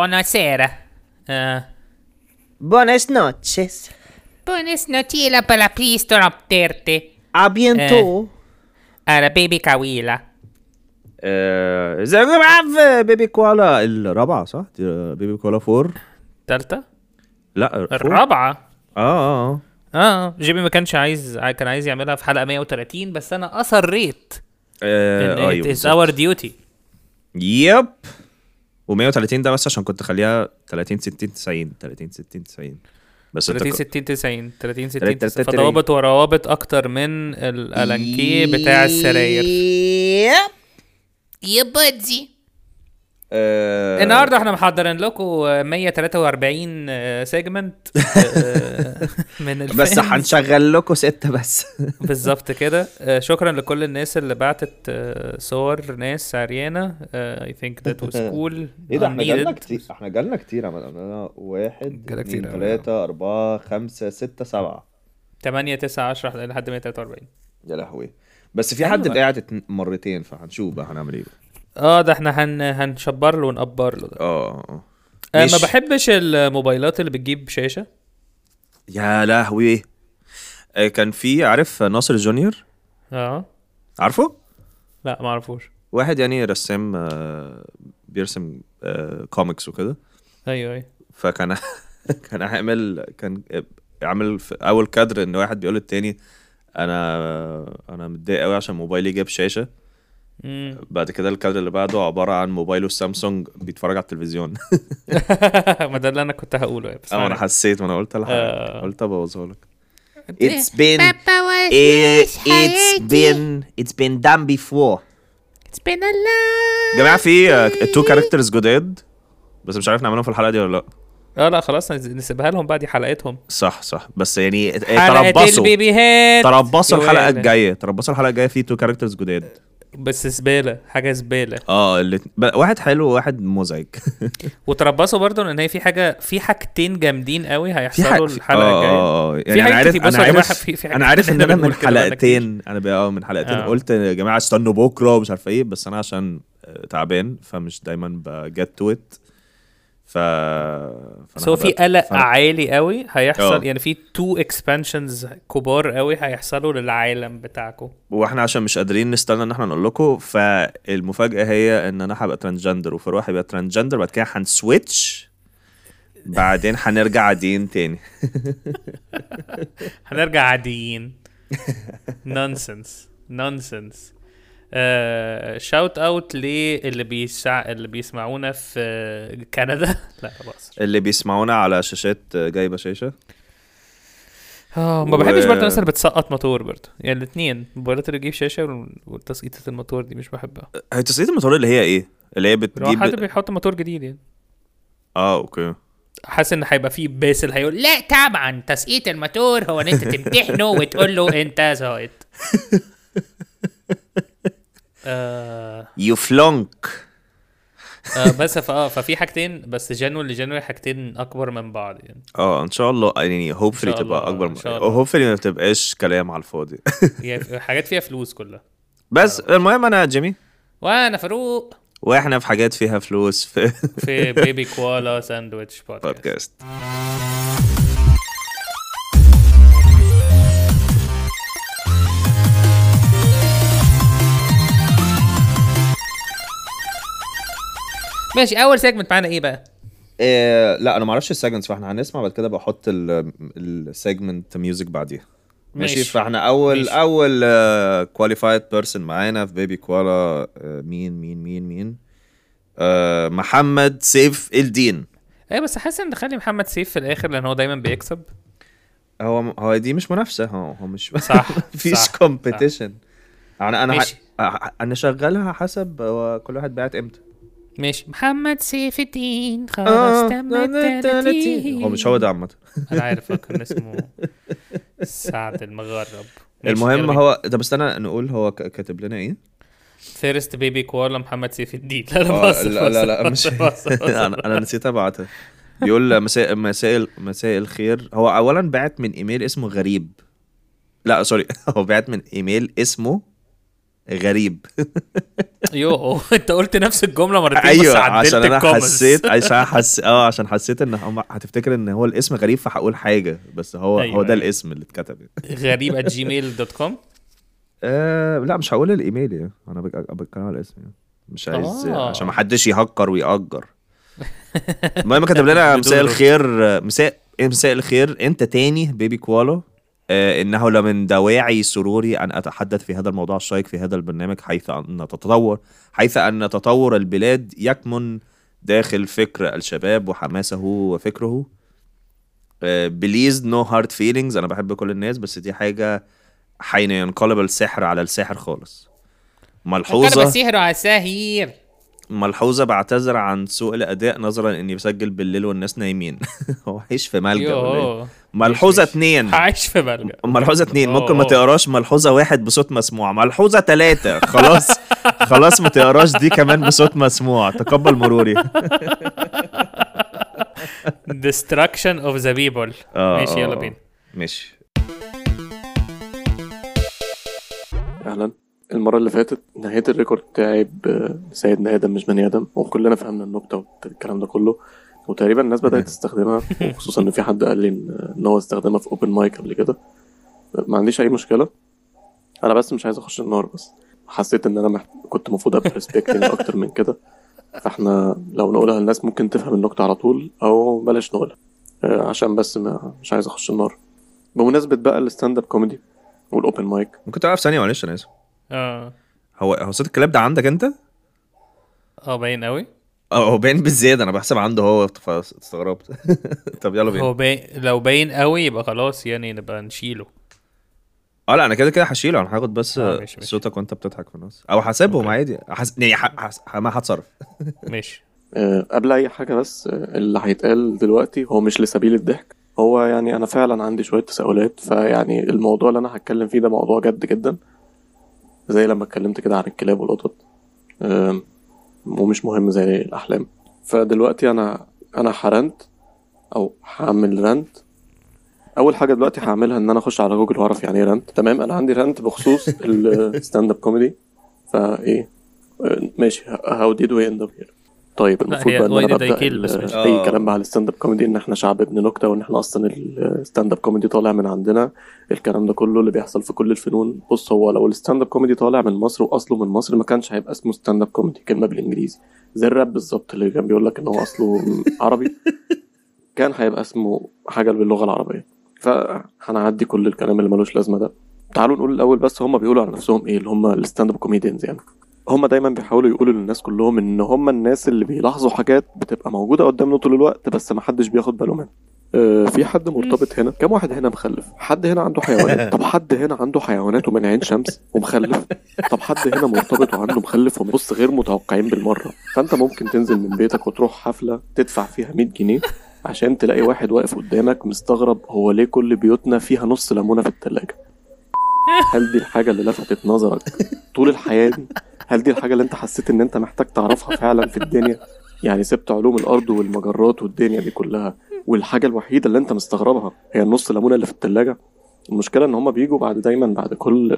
Buonasera. Eh, Buenas noches. buenas noches la para pteropterte. À bientôt. على بيبي كاويلا آه، ازيكم يا معاف بيبي كوالا الرابعه صح؟ دي بيبي كوالا فور تالتة لا فور. الرابعة اه اه آه. اه جيمي ما كانش عايز كان عايز يعملها في حلقة 130 بس انا اصريت آه، ان ايوه it is بالظبط. our duty يب و 130 ده بس عشان كنت خليها 30 60 90 30 60 90 بس 30 انت 60 90 30 60 تلاتة- 90 تلاتة- فضوابط وروابط اكتر من الالانكيه بتاع إيه. السراير Yep. يا بادي آه، النهارده احنا محضرين لكم 143 سيجمنت آه، من الفيلم بس هنشغل لكم ستة بس بالظبط كده آه، شكرا لكل الناس اللي بعتت آه، صور ناس آه، عريانه اي ثينك ذات واز كول ايه ده احنا جالنا كتير احنا جالنا كتير يا مدام انا واحد جالك اتنين كتير أوي. تلاتة أربعة خمسة ستة سبعة 8 9 10 لحد 143 يا لهوي بس في حد أيوة. بقى قاعد اتن- مرتين فهنشوف بقى هنعمل ايه اه ده احنا هن هنشبر له ونقبر له ده اه آه. آه، ما ماشي. بحبش الموبايلات اللي بتجيب شاشه يا لهوي آه، كان في عارف ناصر جونيور اه عارفه لا ما اعرفوش واحد يعني رسام آه، بيرسم آه، كوميكس وكده ايوه ايوه فكان كان عامل كان آه، عامل في اول كادر ان واحد بيقول للتاني انا انا متضايق قوي عشان موبايلي جاب شاشه مم. بعد كده الكادر اللي بعده عباره عن موبايله السامسونج بيتفرج على التلفزيون ما ده اللي انا كنت هقوله يعني، بس اه انا معلش. حسيت وانا قلت آه. إيه؟ لحق قلت ابوظها لك It's been إيه، it's been it's been done before جماعه في تو كاركترز جداد بس مش عارف نعملهم في الحلقه دي ولا لا اه لا خلاص نز- نسيبها لهم بقى دي حلقتهم صح صح بس يعني حلقة تربصوا البيبيهات تربصوا الحلقه يوالي. الجايه تربصوا الحلقه الجايه في تو كاركترز جداد بس زبالة حاجة زبالة اه الات- ب- واحد حلو وواحد مزعج وتربصوا برضو ان هي في حاجة في حاجتين جامدين قوي هيحصلوا في- الحلقة الجاية اه اه في يعني انا حاجات عارف كتير، بص انا يا جماعة، عارف في- في حاجات انا عارف ان كتير انا من بنقول كده بقالنا حلقتين انا بقى اه من حلقتين آه. قلت يا جماعه استنوا بكره ومش عارف ايه بس انا عشان آه، تعبان فمش دايما بجت تو ات ف فأنا سو في هبقى- قلق فأنا- عالي قوي هيحصل آه. يعني في تو اكسبانشنز كبار قوي هيحصلوا للعالم بتاعكم واحنا عشان مش قادرين نستنى ان احنا نقول لكم فالمفاجاه هي ان انا هبقى ترانسجندر وفروع هيبقى ترانسجندر بعد كده هنسويتش بعدين هنرجع عاديين تاني هنرجع عاديين نونسنس نونسنس شاوت اوت للي بيسع... اللي بيسمعونا في كندا لا بصر اللي بيسمعونا على شاشات آه، جايبه شاشه اه ما و- بحبش برضه الناس اللي بتسقط موتور برضه يعني الاثنين الموبايلات اللي تجيب شاشه وال- وتسقيطة الموتور دي مش بحبها هي تسقيط الموتور اللي هي ايه؟ اللي هي لو حد بتجيب بيحط موتور جديد يعني اه اوكي حاسس ان هيبقى فيه باسل هيقول لا طبعا تسقيط الموتور هو ان انت تمتحنه وتقول له انت زهقت آه يو فلونك آه بس فاه ففي حاجتين بس جانو لجانوري حاجتين اكبر من بعض يعني اه ان شاء الله يعني هوبفلي إن شاء الله، تبقى اكبر إن شاء الله. هوبفلي ما تبقاش كلام على الفاضي يعني حاجات فيها فلوس كلها بس آه. المهم انا جيمي وانا فاروق واحنا في حاجات فيها فلوس في في بيبي كوالا ساندويتش بودكاست بودكاست ماشي اول سيجمنت معانا ايه بقى؟ إيه لا انا ما اعرفش السيجمنتس فاحنا هنسمع بعد كده بحط السيجمنت ميوزك بعديها ماشي ماشي. فاحنا اول ماشي. ماشي. اول كواليفايد بيرسون آه، معانا في بيبي كوالا مين مين مين مين آه، محمد سيف الدين ايه بس حاسس ان خلي محمد سيف في الاخر لان هو دايما بيكسب هو هو دي مش منافسه هو هو مش صح، مفيش صح، كومبيتيشن انا انا ماشي. ه- انا شغالها حسب هو كل واحد بعت امتى ماشي محمد سيف الدين آه، خلاص تم هو مش هو ده عامه انا عارف هو كان اسمه سعد المغرب المهم هو طب استنى نقول هو ك- كاتب لنا ايه فيرست بيبي كوالا محمد سيف الدين لا لا آه، بص، لا لا لا بص، مش بص، بص، انا انا نسيت ابعتها بيقول مساء مساء مساء الخير هو اولا بعت من ايميل اسمه غريب لا سوري هو بعت من ايميل اسمه غريب يو انت قلت نفس الجمله مرتين بس ايوه عدلت عشان انا الكومنتس. حسيت عشان حس اه عشان حسيت ان هم هتفتكر ان هو الاسم غريب فهقول حاجه بس هو أيوة، أيوة هو ده أيوة. الاسم اللي اتكتب غريب at gmail.com آه لا مش هقول الايميل يعني انا بك- بتكلم على الاسم يعني مش عايز آه. آه. عشان ما حدش يهكر ويأجر المهم كتب لنا بدون مساء رد. الخير آه، مساء إيه مساء الخير انت تاني بيبي كوالا آه انه لمن دواعي سروري ان اتحدث في هذا الموضوع الشيق في هذا البرنامج حيث ان تتطور حيث ان تطور البلاد يكمن داخل فكر الشباب وحماسه وفكره آه، بليز نو هارد فيلينجز انا بحب كل الناس بس دي حاجه حين ينقلب السحر على الساحر خالص ملحوظه سحر على السهير ملحوظه بعتذر عن سوء الاداء نظرا اني بسجل بالليل والناس نايمين هو عايش في ملجا ولا إيه؟ يو ملحوظه ماشي. اتنين عايش في ملجا ملحوظه اتنين أوه، ممكن ما أوه. تقراش ملحوظه واحد بصوت مسموع ملحوظه تلاته خلاص خلاص ما تقراش دي كمان بصوت مسموع تقبل مروري destruction of the people آه، ماشي يلا آه، بينا ماشي اهلا المره اللي فاتت نهيت الريكورد بتاعي بسيدنا ادم مش بني ادم وكلنا فهمنا النكته والكلام ده كله وتقريبا الناس بدات تستخدمها وخصوصا ان في حد قال لي ان إن هو استخدمها في اوبن مايك قبل كده ما عنديش اي مشكله انا بس مش عايز اخش النار بس حسيت ان انا محت... كنت المفروض ابقى ريسبكتنج اكتر من كده فاحنا لو نقولها للناس ممكن تفهم النكته على طول او بلاش نقولها آه، عشان بس ما مش عايز اخش النار بمناسبه بقى الستاند اب كوميدي والاوبن مايك ممكن تعرف ثانيه معلش انا اسف اه هو هو صوت الكلاب ده عندك انت؟ اه باين قوي اه هو باين بالزياده انا بحسب عنده هو فاستغربت طب يلا بينا هو باين لو باين قوي يبقى خلاص يعني نبقى نشيله اه لا انا كده كده هشيله انا هاخد بس اه، ماشي، ماشي. صوتك وانت بتضحك في النص او هسيبهم عادي حس... يعني ح... حس... ما هتصرف ماشي آه، قبل اي حاجه بس آه، اللي هيتقال دلوقتي هو مش لسبيل الضحك هو يعني انا فعلا عندي شويه تساؤلات فيعني الموضوع اللي انا هتكلم فيه ده موضوع جد جدا زي لما اتكلمت كده عن الكلاب والقطط آم، ومش مهم زي الاحلام فدلوقتي انا انا حرنت او هعمل رنت اول حاجه دلوقتي هعملها ان انا اخش على جوجل واعرف يعني ايه رنت تمام انا عندي رنت بخصوص الستاند اب كوميدي فايه آه، ماشي هاو ديد وي اند اب هير طيب المفروض هي بقى ان why انا did I ببدا kill بس ال- ماشي. اي آه. كلام بقى على الستاند اب كوميدي ان احنا شعب ابن نكته وان احنا اصلا الستاند اب كوميدي طالع من عندنا الكلام ده كله اللي بيحصل في كل الفنون بص هو لو الستاند اب كوميدي طالع من مصر واصله من مصر ما كانش هيبقى اسمه ستاند اب كوميدي كلمه بالانجليزي زي الراب بالظبط اللي كان بيقول لك ان هو اصله م- عربي كان هيبقى اسمه حاجه باللغه العربيه فهنعدي كل الكلام اللي ملوش لازمه ده تعالوا نقول الاول بس هم بيقولوا على نفسهم ايه اللي هم الستاند اب كوميديانز يعني هم دايما بيحاولوا يقولوا للناس كلهم ان هم الناس اللي بيلاحظوا حاجات بتبقى موجوده قدامنا طول الوقت بس ما حدش بياخد باله منها آه، في حد مرتبط هنا كم واحد هنا مخلف حد هنا عنده حيوانات طب حد هنا عنده حيوانات ومن عين شمس ومخلف طب حد هنا مرتبط وعنده مخلف وبص غير متوقعين بالمره فانت ممكن تنزل من بيتك وتروح حفله تدفع فيها 100 جنيه عشان تلاقي واحد واقف قدامك مستغرب هو ليه كل بيوتنا فيها نص ليمونه في التلاجة هل دي الحاجه اللي لفتت نظرك طول الحياه دي هل دي الحاجه اللي انت حسيت ان انت محتاج تعرفها فعلا في الدنيا يعني سبت علوم الارض والمجرات والدنيا دي كلها والحاجه الوحيده اللي انت مستغربها هي النص ليمونه اللي في التلاجة المشكله ان هما بيجوا بعد دايما بعد كل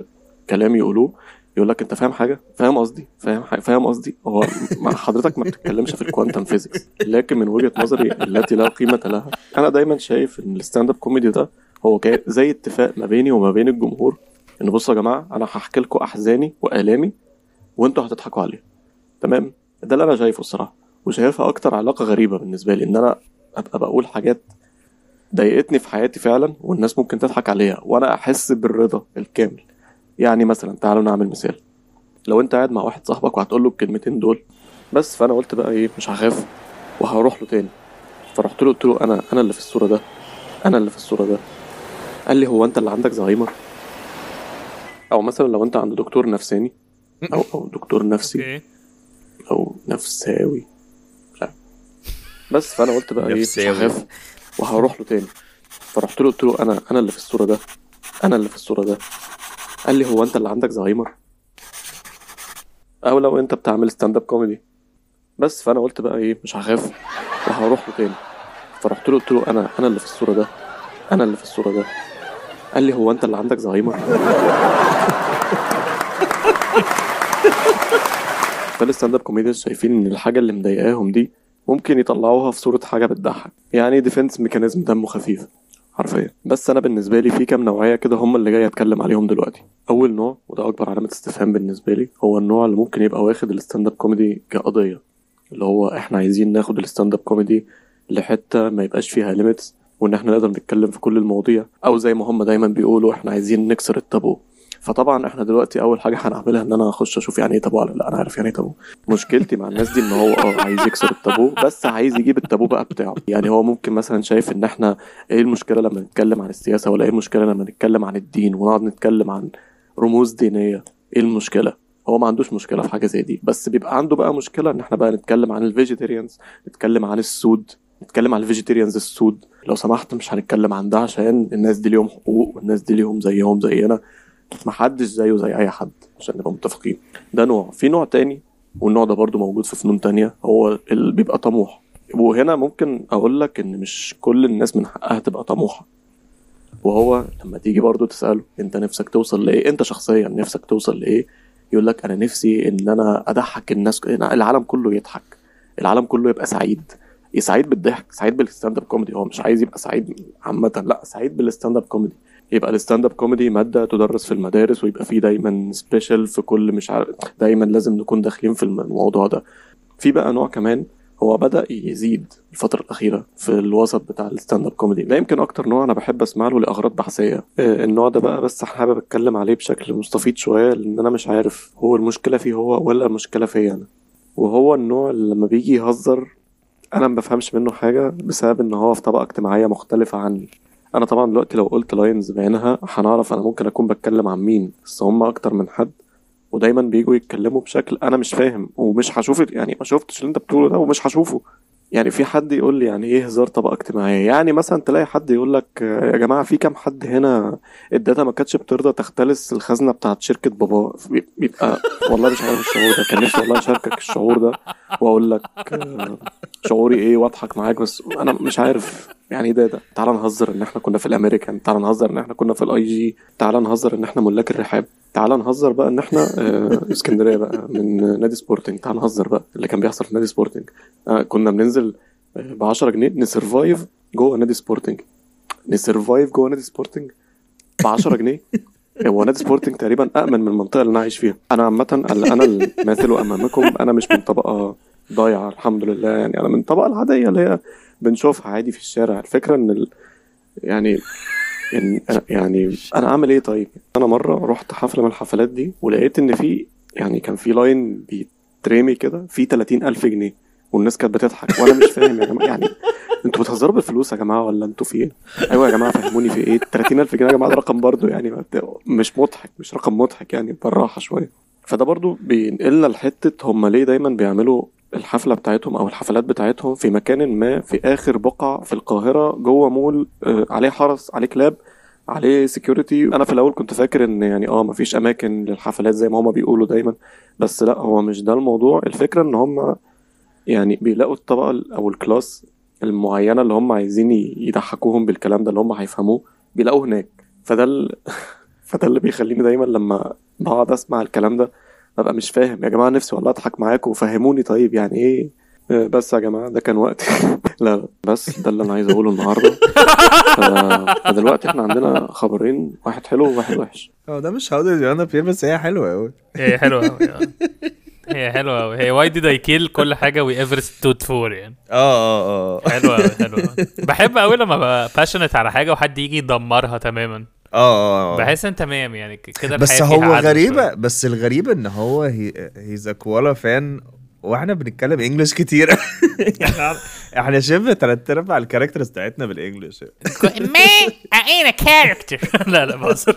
كلام يقولوه يقول لك انت فاهم حاجه فاهم قصدي فاهم حاجة؟ فاهم قصدي هو مع حضرتك ما بتتكلمش في الكوانتم فيزيكس لكن من وجهه نظري التي لا قيمه لها انا دايما شايف ان الستاند اب كوميدي ده هو كا- زي اتفاق ما بيني وما بين الجمهور ان بصوا يا جماعه انا هحكي لكم احزاني والامي وانتوا هتضحكوا عليها تمام ده اللي انا شايفه الصراحه وشايفها اكتر علاقه غريبه بالنسبه لي ان انا ابقى بقول حاجات ضايقتني في حياتي فعلا والناس ممكن تضحك عليها وانا احس بالرضا الكامل يعني مثلا تعالوا نعمل مثال لو انت قاعد مع واحد صاحبك وهتقول له الكلمتين دول بس فانا قلت بقى ايه مش هخاف وهروح له تاني فرحت له قلت له انا انا اللي في الصوره ده انا اللي في الصوره ده قال لي هو انت اللي عندك زهايمر او مثلا لو انت عند دكتور نفساني او او دكتور نفسي اوكي او نفساوي مش عارف بس فانا قلت بقى ايه مش نفساوي. هخاف وهروح له تاني فرحت له قلت له انا انا اللي في الصوره ده انا اللي في الصوره ده قال لي هو انت اللي عندك زهايمر او لو انت بتعمل ستاند اب كوميدي بس فانا قلت بقى ايه مش هخاف وهروح له تاني فرحت له قلت له انا انا اللي في الصوره ده انا اللي في الصوره ده قال لي هو انت اللي عندك زهايمر فالستاند اب كوميديانز شايفين ان الحاجه اللي مضايقاهم دي ممكن يطلعوها في صوره حاجه بتضحك يعني ديفنس ميكانيزم دمه خفيف حرفيا بس انا بالنسبه لي في كام نوعيه كده هم اللي جاي اتكلم عليهم دلوقتي اول نوع وده اكبر علامه استفهام بالنسبه لي هو النوع اللي ممكن يبقى واخد الستاند اب كوميدي كقضيه اللي هو احنا عايزين ناخد الستاند اب كوميدي لحته ما يبقاش فيها ليميتس وان احنا نقدر نتكلم في كل المواضيع او زي ما هم دايما بيقولوا احنا عايزين نكسر التابو فطبعا احنا دلوقتي اول حاجه هنعملها ان انا هخش اشوف يعني ايه تابو ولا لا انا عارف يعني ايه تابو مشكلتي مع الناس دي ان هو اه عايز يكسر التابو بس عايز يجيب التابو بقى بتاعه يعني هو ممكن مثلا شايف ان احنا ايه المشكله لما نتكلم عن السياسه ولا ايه المشكله لما نتكلم عن الدين ونقعد نتكلم عن رموز دينيه ايه المشكله هو ما عندوش مشكله في حاجه زي دي بس بيبقى عنده بقى مشكله ان احنا بقى نتكلم عن الفيجيتيريانز نتكلم عن السود نتكلم عن الفيجيتيريانز السود لو سمحت مش هنتكلم عن ده عشان الناس دي ليهم حقوق والناس دي ليهم زيهم زينا محدش زيه زي اي حد عشان نبقى متفقين ده نوع في نوع تاني والنوع ده برضو موجود في فنون تانية هو اللي بيبقى طموح وهنا ممكن اقول لك ان مش كل الناس من حقها تبقى طموحه وهو لما تيجي برضو تساله انت نفسك توصل لايه انت شخصيا نفسك توصل لايه يقول لك انا نفسي ان انا اضحك الناس ك- العالم كله يضحك العالم كله يبقى سعيد إيه، سعيد بالضحك سعيد بالستاند اب كوميدي هو مش عايز يبقى سعيد عامه لا سعيد بالستاند اب كوميدي يبقى الستاند اب كوميدي ماده تدرس في المدارس ويبقى فيه دايما سبيشال في كل مش عارف دايما لازم نكون داخلين في الم- الموضوع ده في بقى نوع كمان هو بدأ يزيد الفترة الأخيرة في الوسط بتاع الستاند اب كوميدي ده يمكن أكتر نوع أنا بحب أسمع له لأغراض بحثية آه، النوع ده بقى بس حابب أتكلم عليه بشكل مستفيض شوية لأن أنا مش عارف هو المشكلة فيه هو ولا المشكلة فيا أنا وهو النوع اللي لما بيجي يهزر أنا ما بفهمش منه حاجة بسبب إن هو في طبقة اجتماعية مختلفة عني انا طبعا دلوقتي لو قلت لاينز بعينها هنعرف انا ممكن اكون بتكلم عن مين بس هم اكتر من حد ودايما بيجوا يتكلموا بشكل انا مش فاهم ومش هشوف يعني ما شفتش اللي انت بتقوله ده ومش هشوفه يعني في حد يقول لي يعني ايه هزار طبقه اجتماعيه يعني مثلا تلاقي حد يقول لك آه، يا جماعه في كام حد هنا الداتا ما كانتش بترضى تختلس الخزنه بتاعت شركه بابا بي- بيبقى والله مش عارف الشعور ده كان نفسي والله اشاركك الشعور ده واقول لك آه، شعوري ايه واضحك معاك بس انا مش عارف يعني ايه ده ده تعال نهزر ان احنا كنا في الامريكان تعال نهزر ان احنا كنا في الاي جي تعال نهزر ان احنا ملاك الرحاب تعال نهزر بقى ان احنا آه، اسكندريه بقى من آه، نادي سبورتنج تعال نهزر بقى اللي كان بيحصل في نادي سبورتنج آه، كنا بننزل ب 10 جنيه نسرفايف جوه نادي سبورتنج نسرفايف جوه نادي سبورتنج ب 10 جنيه هو نادي سبورتنج تقريبا امن من المنطقه اللي انا عايش فيها انا عامه اللي انا اللي ماثله امامكم انا مش من طبقه ضايعه الحمد لله يعني انا من الطبقه العاديه اللي هي بنشوفها عادي في الشارع الفكره ان ال... يعني إن يعني انا اعمل ايه طيب انا مره رحت حفله من الحفلات دي ولقيت ان في يعني كان في لاين بيترمي كده في 30000 جنيه والناس كانت بتضحك وانا مش فاهم يا جماعه يعني انتوا بتهزروا بالفلوس يا جماعه ولا انتوا في ايه؟ ايوه يا جماعه فهموني في ايه 30000 جنيه يا جماعه ده رقم برضه يعني ما ت- مش مضحك مش رقم مضحك يعني بالراحه شويه فده برضه بينقلنا لحته هم ليه دايما بيعملوا الحفله بتاعتهم او الحفلات بتاعتهم في مكان ما في اخر بقعه في القاهره جوه مول آه، عليه حرس عليه كلاب عليه سكيورتي انا في الاول كنت فاكر ان يعني اه مفيش اماكن للحفلات زي ما هما بيقولوا دايما بس لا هو مش ده الموضوع الفكره ان هما يعني بيلاقوا الطبقه ال- او الكلاس المعينه اللي هم عايزين ي- يضحكوهم بالكلام ده اللي هم هيفهموه بيلاقوه هناك فده ال... فده اللي بيخليني دايما لما بقعد اسمع الكلام ده ببقى مش فاهم يا جماعه نفسي والله اضحك معاكم فهموني طيب يعني ايه آه، بس يا جماعه ده كان وقتي لا لا بس ده اللي انا عايز اقوله النهارده ف- فدلوقتي احنا عندنا خبرين واحد حلو وواحد وحش هو ده مش هاو دايز يو بس هي حلوه قوي هي حلوه قوي هي حلوه قوي هي واي ديد اي كيل كل حاجه وي ايفر ستود فور يعني اه اه اه حلوه قوي حلوه أوي. بحب قوي لما ببقى باشنت على حاجه وحد يجي يدمرها تماما اه اه بحس ان تمام يعني ك- كده بس الحياة فيها هو عدل شوية. غريبه بس الغريب ان هو هيز كوالا فان واحنا بنتكلم انجلش كتير يعني احنا شبه تلات ارباع الكاركترز بتاعتنا بالانجلش me I ain't a character لا لا بهزر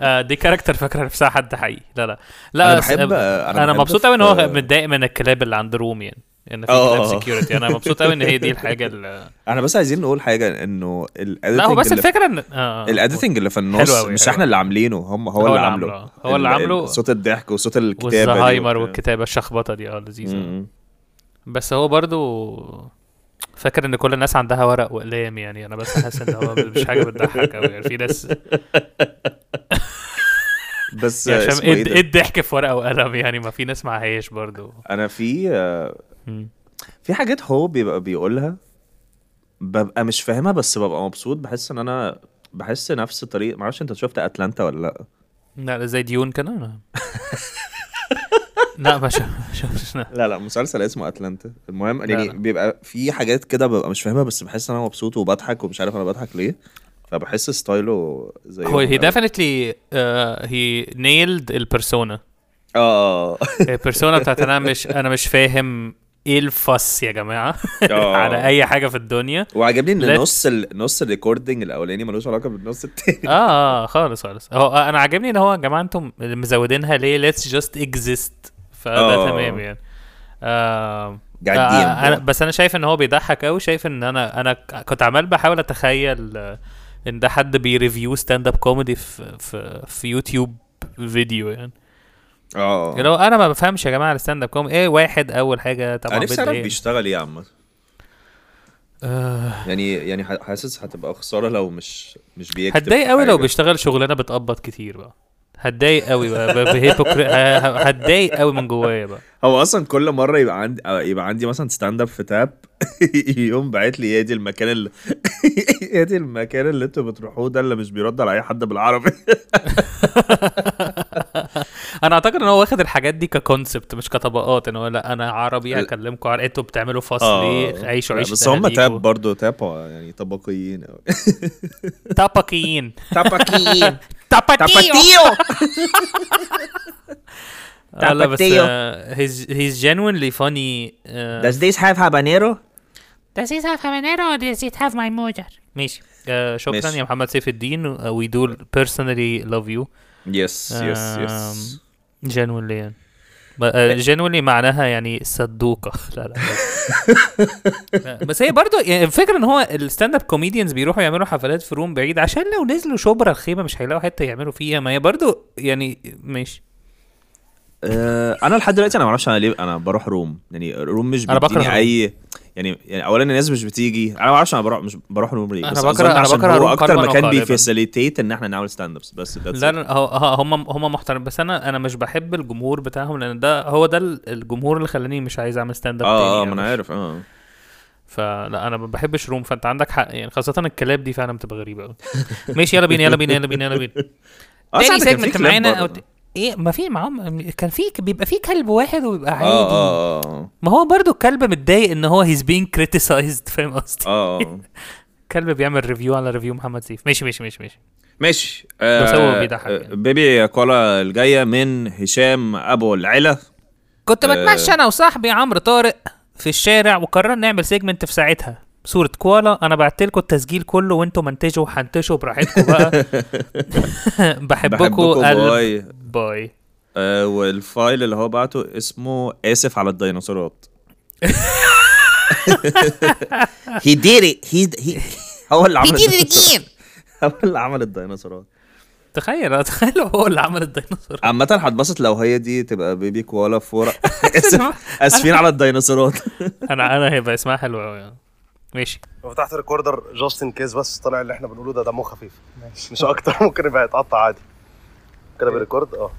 آه، دي كاركتر فاكره نفسها حد حقيقي لا لا لا أنا بس- بحب- آه، أنا انا بحب مبسوط قوي ان هو في- متضايق من الكلاب اللي عند روم يعني ان في آه. كلاب سكيورتي انا مبسوط قوي ان هي دي الحاجه اللي احنا بس عايزين نقول حاجه انه الاديتنج لا هو بس اللي الفكره ان آه، آه. الاديتنج اللي في النص حلو أوي، مش حلو احنا أوي. اللي عاملينه هم هو, هو اللي اللي عامله عامله. هو اللي ال- عامله. صوت الضحك وصوت الكتابه دي والزهايمر وبتاع. والكتابه الشخبطه دي اه لذيذه م-م. بس هو برضو فاكر ان كل الناس عندها ورق واقلام يعني انا بس حاسس ان هو مش حاجه بتضحك قوي يعني في ناس بس يا هشام اسمه ايه ايه الد- ده؟ إيه الضحك في ورقه وقلم يعني ما في ناس معهاش برضو انا في آه، مم. في حاجات هو بيبقى بيقولها ببقى مش فاهمها بس ببقى مبسوط بحس ان انا بحس نفس طريق معرفش انت شفت اتلانتا ولا لا لا لا، زي ديون كان انا لا ما شف- شفتش لا. لا لا مسلسل اسمه اتلانتا المهم لا، يعني لا. بيبقى في حاجات كده ببقى مش فاهمها بس بحس ان انا مبسوط وبضحك ومش عارف انا بضحك ليه فبحس ستايله زي هو آه، هي ديفينتلي هي نيلد البيرسونا اه البيرسونا بتاعت انا مش انا مش فاهم ايه الفص يا جماعه آه. على اي حاجه في الدنيا وعجبني ان Let's- نص ال... نص الريكوردنج الاولاني ملوش علاقه بالنص التاني اه اه خالص خالص هو آه، انا عاجبني ان هو يا جماعه انتم مزودينها ليه ليتس جاست اكزيست فده آه. تمام يعني آه قاعد DM آه أنا بقى. بس انا شايف ان هو بيضحك قوي شايف ان انا انا ك- كنت عمال بحاول اتخيل آه، ان ده حد بيريفيو ستاند اب كوميدي في في في يوتيوب فيديو يعني اه لو انا ما بفهمش يا جماعه الستاند اب كوميدي ايه واحد اول حاجه طبعا انا نفسي بدي اعرف إيه؟ بيشتغل ايه عامه آه، يعني يعني ح- حاسس هتبقى خساره لو مش مش بيكتب هتضايق قوي لو حاجة. بيشتغل شغلانه بتقبض كتير بقى هتضايق قوي بقى ب- بهيبوكري ه- ه- هتضايق قوي من جوايا بقى هو اصلا كل مره يبقى عندي آه، يبقى عندي مثلا ستاند اب في تاب يقوم باعت لي يا دي المكان اللي يا دي المكان اللي انتوا بتروحوه ده اللي مش بيرد على اي حد بالعربي انا اعتقد ان هو واخد الحاجات دي ككونسبت مش كطبقات ان هو لا انا عربي هكلمكم على انتوا بتعملوا فصل ليه عيشوا آه. لا، عيشوا بس هم تاب برضه تاب آه، يعني طبقيين قوي تاباكيين تاباكيين تاباتيو تاباتيو آه، لا بس تاباتيو. هيز هيز genuinely funny آه، Does this have habanero? Does it have habanero or does it have my motor? ماشي آه، شكرا ماشي. يا محمد سيف الدين وي دو personally love you يس يس يس آم، genuinely يعني ب- آه، إيه. genuinely معناها يعني صدوقة لا لا لا. بس هي برضو يعني الفكرة ان هو الستاند اب كوميديانز بيروحوا يعملوا حفلات في روم بعيد عشان لو نزلوا شبرا الخيمة مش هيلاقوا حتة يعملوا فيها ما هي برضو يعني ماشي آه، انا لحد دلوقتي انا ما اعرفش انا ليه انا بروح روم يعني روم مش أنا بكره بيديني روم. اي يعني يعني اولا الناس مش بتيجي انا ما اعرفش انا بروح مش بروح روم ليه أنا بس بكره- أظن أنا عشان بكره هو روم اكتر قلباً مكان وقالباً. بيفاسيليتيت ان احنا نعمل ستاند ابس بس that's لا it. لا هو- ه- هم هم محترم بس انا انا مش بحب الجمهور بتاعهم لان ده هو ده ال- الجمهور اللي خلاني مش عايز اعمل ستاند اب تاني اه اه يعني ما انا مش- عارف اه فلا انا ما بحبش روم فانت عندك حق يعني خاصه الكلاب دي فعلا بتبقى غريبه قوي ماشي يلا بينا يلا بينا يلا بينا يلا بينا آه، تاني ساعات كان في سيجمنت كلاب معانا برضه. او ت- ايه ما في معاهم كان في بيبقى في كلب واحد وبيبقى اه عادي اه آه، ما هو برضو الكلب متضايق ان هو هيز بين كريتيسايزد فاهم قصدي اه اه الكلب بيعمل ريفيو على ريفيو محمد سيف ماشي ماشي ماشي ماشي ماشي بس هو آه بيضحك آه، يعني. بيبي كولا الجايه من هشام ابو العلا كنت آه. بتمشى انا وصاحبي عمرو طارق في الشارع وقررنا نعمل سيجمنت في ساعتها صورة كوالا انا بعت لكم التسجيل كله وانتوا منتجوا وحنتشوا براحتكم بقى بحبكم بحبكوا قلب باي باي آه والفايل اللي هو بعته اسمه اسف على الديناصورات He did it. He, he, هو اللي عمل he did it الديناصورات. again. هو اللي عمل الديناصورات تخيل تخيل لو هو اللي عمل الديناصور عامة هتبسط لو هي دي تبقى بيبي كوالا في ورق آسف- اسفين على الديناصورات انا انا هيبقى اسمها حلو قوي يعني. ماشي لو فتحت ريكوردر جاست ان كيس بس طلع اللي احنا بنقوله ده دمه خفيف ماشي مش اكتر ممكن يبقى يتقطع عادي كده بالريكورد اه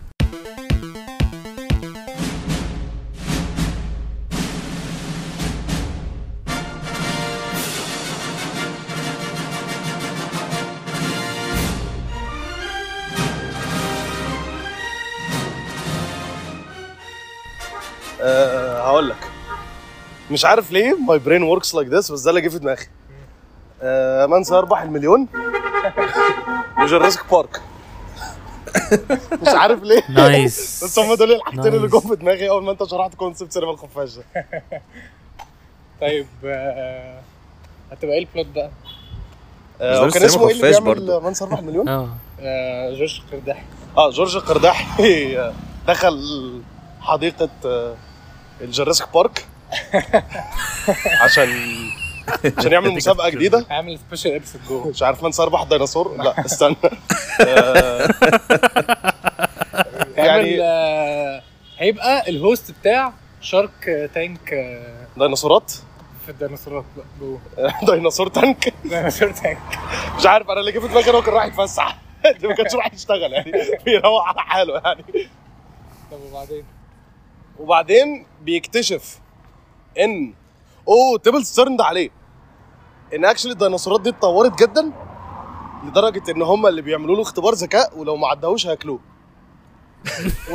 أه هقول لك مش عارف ليه ماي برين وركس لايك ذس بس ده اللي جه في دماغي آه من سيربح المليون وجراسيك بارك مش عارف ليه نايس بس هم دول الحاجتين اللي نايس. جم في دماغي اول ما انت شرحت كونسيبت سينما الخفاش ده طيب آه، هتبقى ايه البلوت بقى؟ آه، بس هو دول كان سينما اسمه ايه اللي خفاش بيعمل برضه. من سيربح المليون؟ اه آه، جورج قرداحي اه جورج قرداحي آه، دخل حديقة آه، الجراسيك بارك عشان عشان يعمل مسابقة جديده هعمل سبيشال ابسود جوه مش عارف من سيربح الديناصور لا استنى آه، هعمل يعني آه، هيبقى الهوست بتاع شارك تانك آه، ديناصورات في الديناصورات بقى جوه ديناصور تانك ديناصور تانك مش عارف انا اللي جه في دماغي إن هو كان رايح يتفسح ده ما كانش راح يشتغل يعني بيروح على حاله يعني طب وبعدين وبعدين بيكتشف ان اوه تيبلز ترند عليه ان اكشلي الديناصورات دي اتطورت جدا لدرجه ان هم اللي بيعملوا له اختبار ذكاء ولو ما عداهوش هياكلوه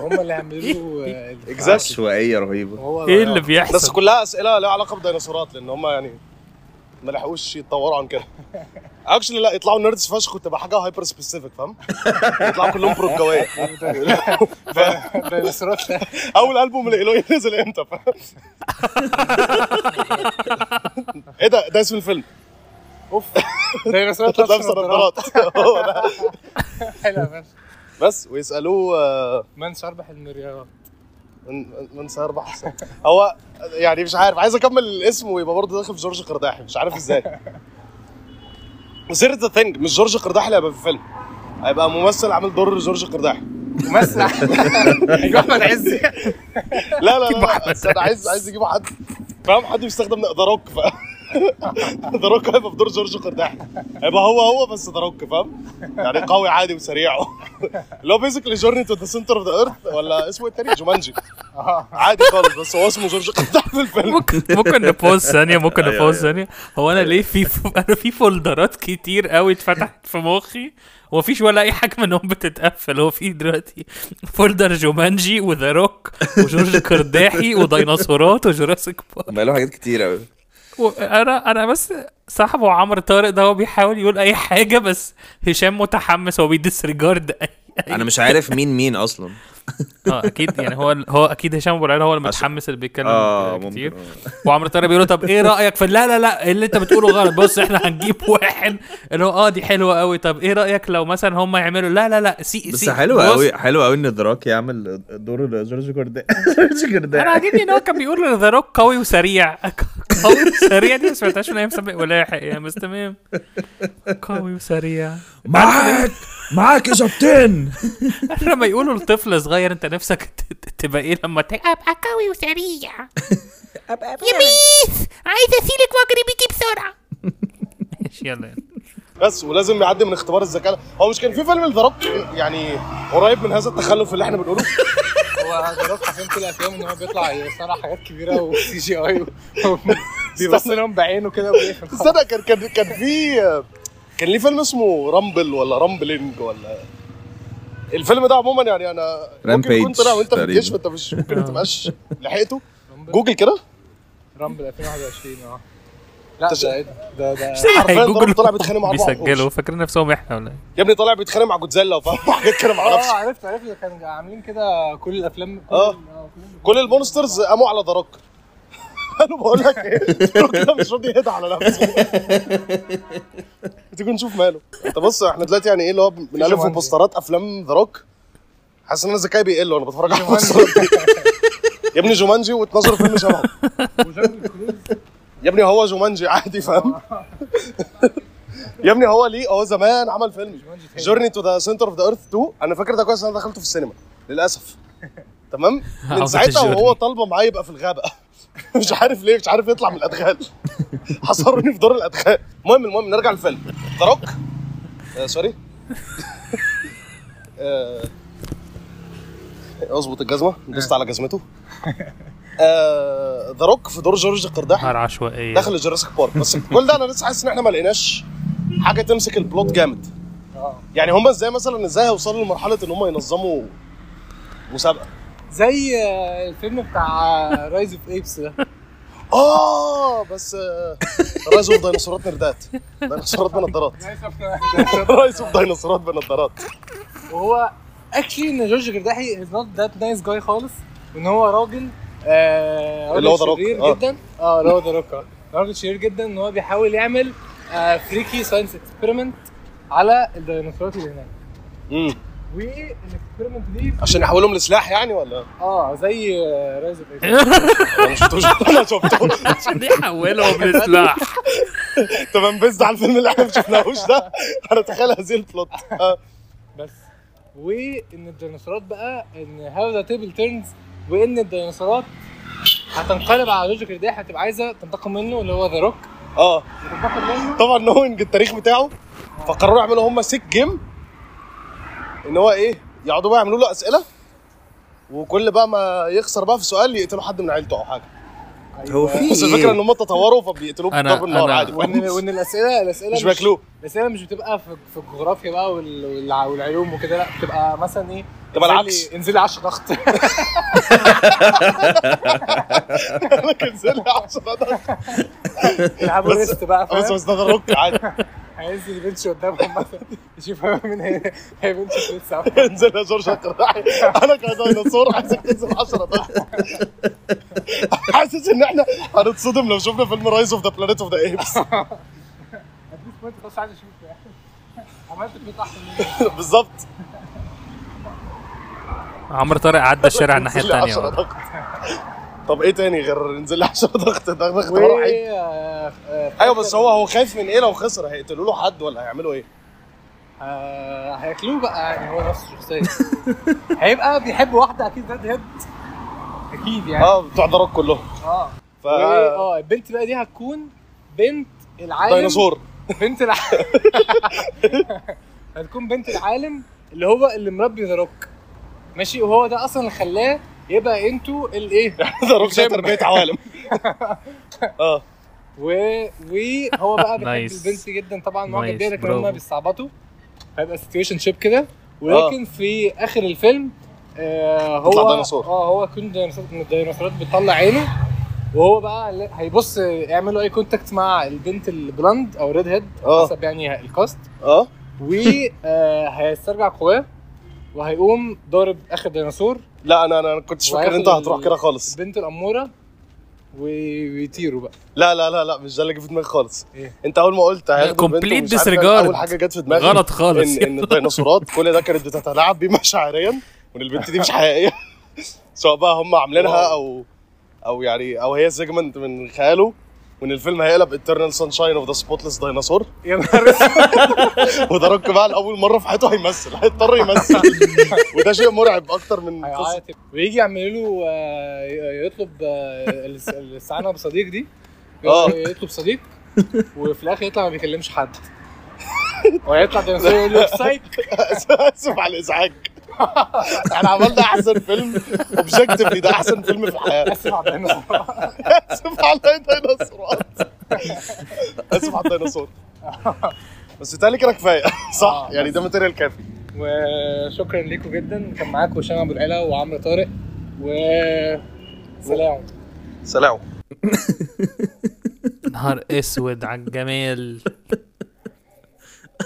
هم اللي عملوا آه، ال- اكزاكتلي عشوائيه رهيبه وهو ايه اللي بس بيحصل كلها اسئله لها علاقه بالديناصورات لان هم يعني ما لحقوش يتطوروا عن كده اكشلي لا يطلعوا نيردز فشخ وتبقى حاجه هايبر سبيسيفيك فاهم يطلعوا كلهم برجويه الديناصورات اول البوم لإيلوي نزل امتى فاهم؟ ايه ده ده اسم الفيلم اوف الديناصورات لابسه لابسه نظارات نظارات هو ده. حلوه فشخ بس ويسالوه آه، من سيربح المريارات من من سيربح السنة؟ هو يعني مش عارف عايز اكمل الاسم ويبقى برضه داخل في جورج قرداحي مش عارف ازاي سيرة ذا ثينج مش جورج قرداحي اللي هيبقى في الفيلم هيبقى ممثل عامل دور جورج قرداحي ممثل ايوه احمد عز لا لا لا بس انا عايز عايز يجيبوا حد فاهم حد بيستخدم ذا روك فاهم ذا روك هيبقى في دور جورج قرداحي هيبقى هو هو بس ذا روك فاهم يعني قوي عادي وسريع اللي هو بيزيكلي جورني تو ذا سنتر اوف ذا ايرث ولا اسمه إيه التاني جومانجي عادي خالص بس هو اسمه جورج قرداحي في الفيلم ممكن ممكن نبوز ثانيه ممكن أيوة، نبوز ثانيه هو انا ليه في انا في فولدرات كتير قوي اتفتحت في مخي ومفيش ولا اي حاجه منهم بتتقفل هو في دلوقتي فولدر جومانجي وذا روك وجورج قرداحي وديناصورات وجوراسيك بارك بقاله حاجات كتير قوي انا انا بس صاحبه عمرو طارق ده هو بيحاول يقول اي حاجه بس هشام متحمس هو بيديسريجارد اي أي- انا مش عارف مين مين اصلا اه اكيد يعني هو هو اكيد هشام ابو العيال هو المتحمس اللي بيتكلم اه كتير ممكن آه. وعمرو طارق بيقول له طب ايه رايك في لا لا لا اللي انت بتقوله غلط بص احنا هنجيب واحد اللي هو اه دي حلوه قوي طب ايه رايك لو مثلا هم يعملوا لا لا لا سي بس سي حلو بص، قوي حلو قوي ان دراك يعمل دور جورج جوردان جورج انا جوردان عاجبني ان هو كان بيقول ذا روك قوي وسريع قوي وسريع دي ما سمعتهاش من ايام سابق ولاحق يعني بس تمام قوي وسريع معاك معاك يا كابتن لما يقولوا لطفل صغير انت نفسك ت- ت- تبقى ايه لما ت... أبقى قوي وسريع يا بيس عايز أسيلك وأجري بيكي بسرعة يلا يعني. بس ولازم يعدي من اختبار الذكاء هو مش كان في فيلم ذا يعني قريب من هذا التخلف اللي احنا بنقوله هو دراك عشان كل افلامه ان هو بيطلع يصنع حاجات كبيره وسي جي اي بيبص لهم بعينه كده وبيقفل خلاص. استنى كان كان كان في كان ليه فيلم اسمه رامبل ولا رامبلينج ولا الفيلم ده عموما يعني انا ممكن يكون Rampage طلع وانت في الجيش تقريباً. فانت مش ممكن ما تبقاش لحقته جوجل كده رامبل 2021 اه لا ده ده ده حرفياً هيجوجل طلع بيتخانق مع أربعة بيسجلوا وحوش. فاكرين نفسهم احنا ولا إيه؟ يا ابني طالع بيتخانق مع جودزيلا وفاهم حاجات كده معرفش اه عرفت عرفت كانوا عاملين كده كل الافلام كل آه. ال- كل- كل المونسترز قاموا على ذا روك انا بقول لك ايه The Rock ده مش راضي يهدى على نفسه تيجي نشوف ماله انت بص احنا دلوقتي يعني ايه اللي هو بنالف في جومانجي. بوسترات افلام ذا روك حاسس ان انا ذكائي بيقل وانا بتفرج على البوسترات دي يا ابني جومانجي واتنظر فيلم شبهه وجانجل كروز يا ابني هو جومانجي عادي فاهم يا ابني هو ليه هو زمان عمل فيلم جومانجي تاني. جورني تو ذا سنتر اوف ذا ايرث 2 انا فاكر ده كويس انا دخلته في السينما للاسف تمام من عودة ساعتها وهو الجورني. طالبه معاه يبقى في الغابه مش عارف ليه مش عارف يطلع من الادغال حصروني في دور الادغال المهم المهم نرجع للفيلم ذا روك آه سوري آه، اظبط الجزمه دوست على جزمته آه، ذا روك في دور جورج القرداحي نهار عشوائيه داخل جوراسيك بارك بس كل ده انا لسه حاسس ان احنا ما لقيناش حاجه تمسك البلوت جامد اه يعني هم ازاي مثلا ازاي هيوصلوا لمرحله ان هم ينظموا مسابقه زي آه، الفيلم بتاع آه، رايز اوف ايبس ده اه بس آه، رايز اوف ديناصورات نردات ديناصورات بنضارات رايز اوف ديناصورات بنضارات وهو اكشلي ان جورج جرداحي از نوت ذات نايس جاي خالص وان هو راجل آه راجل اللي هو The Rock، شرير آه. جدا اه اللي هو ذا روك آه. راجل شرير جدا ان هو بيحاول يعمل آه فريكي ساينس اكسبيرمنت على الديناصورات اللي هناك مم. والاكسبيرمنت دي عشان يحولهم لسلاح يعني ولا اه زي رايز اوف ايبس انا ما شفتوش انا شفته عشان يحولهم لسلاح تمام بس على الفيلم اللي احنا ما شفناهوش ده انا اتخيل هذه البلوت آه. بس وان الديناصورات بقى ان هاو ذا تيبل تيرنز وان الديناصورات هتنقلب على جورج جرداحي هتبقى عايزه تنتقم منه اللي هو ذا روك اه هتنتقم منه طبعا نوينج التاريخ بتاعه فقرروا يعملوا هم سيك جيم ان هو ايه يقعدوا بقى يعملوا له اسئله وكل بقى ما يخسر بقى في سؤال يقتلوا حد من عيلته او حاجه هو أيوة. في بس إيه؟ الفكره ان هم تطوروا فبيقتلوه أنا- بضرب النار أنا- عادي وان فاهم؟ وان الاسئله الاسئله مش بياكلوه الاسئله مش بتبقى في, في الجغرافيا بقى وال- والع- والعلوم وكده لا بتبقى مثلا ايه تبقى انزلي- العكس. انزلي 10 ضغط لكن زي العشرة ده العبوا بس- ريست بقى بس فاهم بس ده روك عادي هينزل بنش قدامهم مثلا يشوف هو مين هي هي بنش لسه انزل يا جورج القرداحي انا كديناصور عايزك تنزل 10 ده حاسس ان احنا هنتصدم لو شفنا فيلم رايز اوف ذا بلانيت اوف ذا ايبس هتدوس بوينت خلاص عايز اشوفه يعني عملت بيت احسن بالظبط عمرو طارق عدى الشارع الناحيه انزل لي الثانيه 10 ضغط طب ايه تاني غير انزل لي 10 ضغط ده ضغط و راحي آه، آه، ايوه بس هو هو خايف من ايه لو خسر هيقتلوا له حد ولا هيعملوا ايه؟ آه، هياكلوه بقى يعني هو نفس الشخصيه هيبقى بيحب واحده اكيد داد هيد اكيد يعني اه بتوع ذا روك كلهم اه آه. ف و- اه البنت بقى دي هتكون بنت العالم ديناصور بنت العالم هتكون بنت العالم اللي هو اللي مربي ذا روك ماشي وهو ده اصلا اللي خلاه يبقى إيه؟ انتوا الايه ذا روك ده جيم. تربيه عوالم آه. اه و وهو بقى بيحب Nice. البنت جدا طبعا معجب Nice. بيها لكن برافو. هما بيستعبطوا هيبقى سيتويشن شيب كده ولكن في اخر الفيلم آه يطلع هو آه. ديناصور. اه هو يكون ديناصور من الديناصورات بيطلع عينه وهو بقى ل- هيبص يعملوا اي كونتاكت مع البنت البلند او ريد هيد آه. حسب يعني الكاست اه وهيسترجع قواه وهيقوم ضارب اخر ديناصور لا انا انا كنتش فاكر ان انت وهياخد هتروح كده خالص البنت الاموره وي- ويطيروا بقى لا لا لا لا مش ده اللي جه في دماغي خالص إيه؟ انت اول ما قلت هياخدوا complete بنت ومش عارف إيه، disregard. اول حاجه جت في دماغي غلط خالص ان ان الديناصورات كل ده كانت بتتلاعب بيه مشاعريا وان البنت دي مش حقيقيه سواء بقى هم عاملينها او او يعني او هي سيجمنت من خياله وان الفيلم هيقلب eternal sunshine of the spotless dinosaur يا نهار أسود. وده روك بقى لاول مره في حياته هيمثل هيضطر يمثل وده شيء مرعب اكتر من قصة- هيعيط ويجي يعمل له آه، ي- يطلب آه، الاس- الاستعانه بصديق دي آه. يطلب صديق وفي الاخر يطلع ما بيكلمش حد وهيطلع ديناصور يقول له سايك اسف على الازعاج احنا عملنا احسن فيلم اوبجكتيفلي ده احسن فيلم في الحياه اسف على الديناصور اسف على الديناصورات اسف على الديناصور بس تالي كده كفايه صح آه. يعني ده ماتيريال كافي وشكرا لكم جدا كان معاكم هشام ابو العلا وعمرو طارق و سلام سلام نهار اسود على الجمال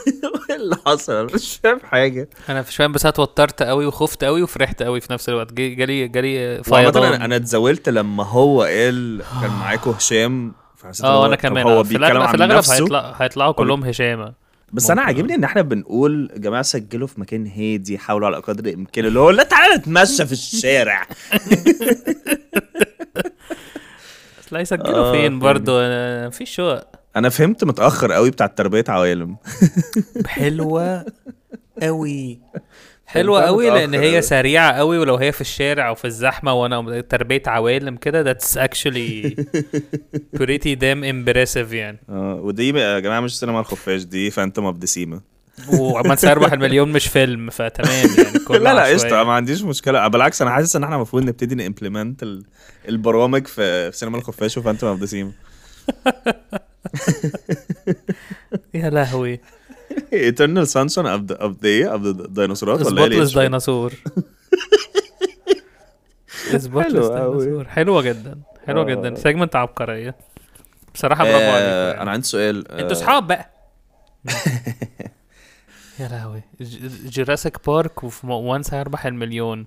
إيه ايه اللي حصل مش فاهم حاجه انا مش فاهم بس أنا اتوترت قوي وخفت قوي وفرحت قوي في نفس الوقت جي- جالي جالي وعامة انا فيضان انا اتزاولت لما هو قال كان معاكو هشام فحسيت إن اه هو- انا طب كمان هو آه. في بيتكلم الاغلب في عن الاغلب نفسه هيطلع هيطلعوا كلهم هشامه بس انا عاجبني ان احنا بنقول يا جماعه سجلوا في مكان هادي حاولوا على قدر الامكان اللي هو لا تعالى نتمشى في الشارع بس لا يسجلوا آه، فين فين. برضو أنا- مفيش شقق انا فهمت متاخر قوي بتاع تربيه عوالم حلوه قوي حلوه فهمتها قوي لان متأخر هي أوي. سريعه قوي ولو هي في الشارع او في الزحمه وانا تربيه عوالم كده ذاتس اكشلي pretty damn impressive يعني اه ودي بقى يا جماعه مش سينما الخفاش دي فانتوم اوف ديسيما وعمال سيربح المليون مش فيلم فتمام يعني كله لا لا عشوائي. قشطه ما عنديش مشكله بالعكس انا حاسس ان احنا المفروض نبتدي نمبلمنت ال- البرامج في في سينما الخفاش وفانتوم اوف ديسيما يا لهوي ايترنال سانشون اوف ذا اوف ذا اوف ذا ديناصورات ولا ايه سبوتلس الإيه؟ ديناصور سبوتلس أوي. ديناصور حلوه جدا حلوه جدا سيجمنت عبقريه بصراحه برافو عليكم آه، يعني. انا عندي سؤال آه، انتوا اصحاب بقى يا لهوي ج- جوراسيك بارك وفي م- وانس هيربح المليون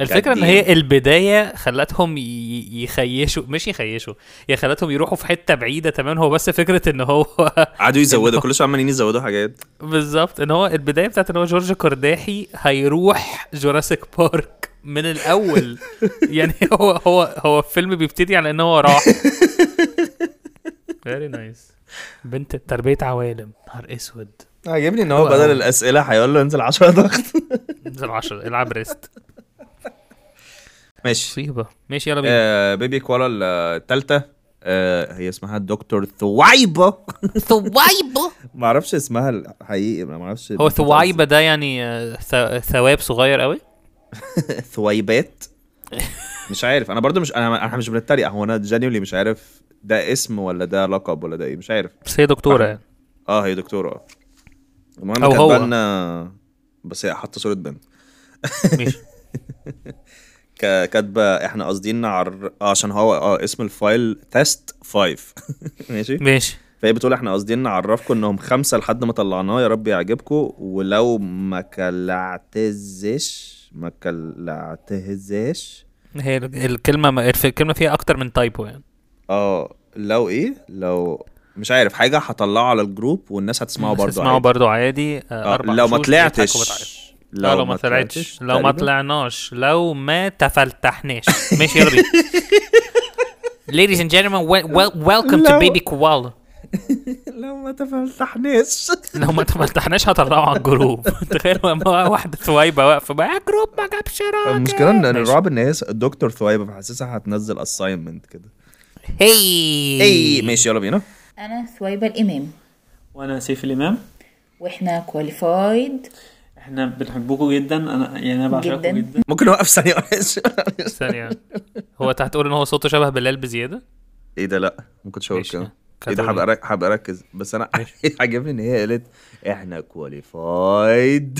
الفكره ان damn. هي البدايه خلتهم ي- ي- يخيشوا مش يخيشوا هي خلتهم يروحوا في حته بعيده تمام هو بس فكره ان هو قعدوا يزودوا كل شويه عمالين يزودوا حاجات بالظبط ان هو البدايه بتاعت ان هو جورج كرداحي هيروح جوراسيك بارك من الاول يعني هو هو هو الفيلم بيبتدي على ان هو راح فيري نايس بنت تربيه عوالم نهار اسود عاجبني ان يعني هو حلو بدل أوي. الاسئله هيقول له انزل 10 ضغط انزل 10 العب ريست ماشي مصيبه ماشي يلا بينا آه بيبي كوالا الثالثه آه هي اسمها دكتور ثويبه ثويبه ما اعرفش اسمها الحقيقي ما اعرفش هو ثويبه ده يعني آه، ث- ثواب صغير قوي ثويبات مش عارف انا برضو مش انا احنا مش بنتريق هو انا جينيولي مش عارف ده اسم ولا ده لقب ولا ده ايه مش عارف بس هي دكتوره يعني اه هي دكتوره المهم أو هو. كاتبانا بس هي حاطه صوره بنت ماشي كا- كاتبه احنا قاصدين عر... آه عشان هو اه اسم الفايل تيست 5 ماشي ماشي فهي بتقول احنا قاصدين نعرفكم انهم خمسه لحد ما طلعناه يا رب يعجبكم ولو ما كلعتزش ما كلعتهزش هي ال- الكلمه ما الف- الكلمه فيها اكتر من تايبو يعني اه لو ايه لو مش عارف حاجه هطلعه على الجروب والناس هتسمعه برضه اسمعوا عادي. برضو عادي آه، آه، أربع لو ما حشوش طلعتش بيضحكوا بتعيط. لو, لو ما طلعتش لو ما تقريباً. طلعناش لو ما تفلتحناش ماشي يلا بينا Ladies and gentlemen, wel- wel- welcome to لو- Baby Koala. لو ما تفلتحناش لو ما تفتحناش هطلعه على الجروب تخيل لما واحده ثويبه واقفه بقى جروب ما جابش راجل المشكله ان ماشي. الرعب ان هي دكتور ثويبه فحاسسها هتنزل اساينمنت كده هي اي ماشي يلا بينا انا ثويبه الامام وانا سيف الامام واحنا كواليفايد احنا بنحبكم جدا انا يعني انا بعشقكم جداً. جدا, ممكن نوقف ثانيه معلش ثانيه هو انت هتقول ان هو صوته شبه بلال بزياده ايه ده لا ما كنتش هقول ماشي. كده ايه كانت ده هقول هبقى أرك- هبقى اركز بس انا عاجبني ان هي قالت احنا كواليفايد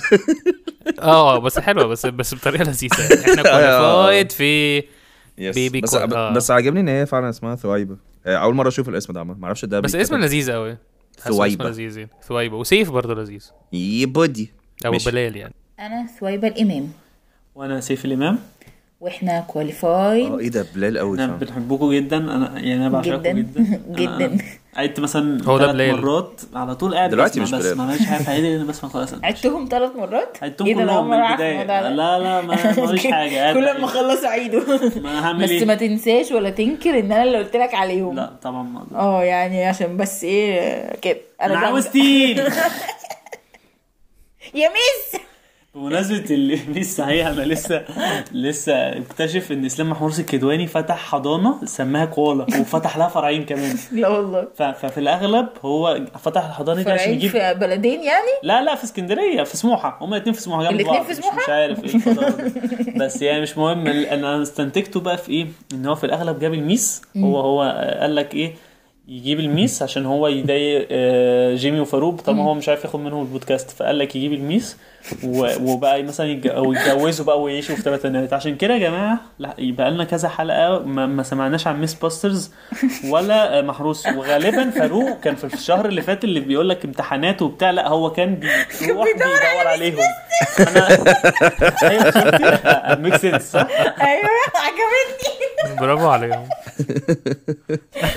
اه بس حلوه بس بس بطريقه لذيذه يعني. احنا كواليفايد في بيبي آه. بس كو- آه. بس عاجبني ان هي فعلا اسمها ثويبه آه، اول مره اشوف الاسم ده ما اعرفش ده بس بيتكتب إيه. اسم لذيذ قوي حاسه اسم ثويبة. لذيذ يعني. ثويبه وسيف برضه لذيذ يي بودي او ماشي. بلال يعني انا ثويبه الامام وانا سيف الامام واحنا كواليفايد اه ايه ده بلال قوي احنا فعلا بنحبكم جدا انا يعني انا جداً. بعشقكم جدا جداً. قعدت مثلا هو ده ثلاث بلال. مرات على طول قاعد دلوقتي بسمع، مش بس بلال. ما مش عارف عادي انا بسمع خلاص عدتهم ثلاث مرات عدتهم إيه ده، أنا كلهم أول مرة من أعرف البداية الموضوع ده. لا لا ما ماليش حاجة كل ما اخلص اعيده ما هعمل بس ما ايه تنساش ولا تنكر ان انا اللي قلت لك عليهم لا طبعا ما أقدر. اه يعني عشان بس ايه كده انا جامدة. عاوز تين يا ميس بمناسبة الميس صحيح انا لسه لسه اكتشف ان اسلام محمود الكدواني فتح حضانة سماها كوالا وفتح لها فرعين كمان لا والله ف- ففي الاغلب هو فتح الحضانه دي عشان فرعين يجيب في بلدين يعني لا لا في اسكندريه في سموحه هما الاثنين في سموحه جنب الاتنين بعض في مش- سموحة؟ مش عارف ايه الفضاء ده. بس يعني مش مهم ال- انا استنتجته بقى في ايه ان هو في الاغلب جاب الميس هو هو آه، قال لك ايه يجيب الميس عشان هو يضايق آه، جيمي وفاروق طالما هو مش عارف ياخد منهم البودكاست فقال لك يجيب الميس و- وبقى مثلا يتج- أو يتجوزوا بقى ويعيشوا في ثلاث بنات عشان كده يا جماعه لا بقى لنا كذا حلقه ما, ما سمعناش عن ميس باسترز ولا آه، محروس وغالبا فاروق كان في الشهر اللي فات اللي بيقول لك امتحانات وبتاع لا هو كان بيروح بيدور عليهم انا ميك سنس صح؟ ايوه عجبتني برافو عليهم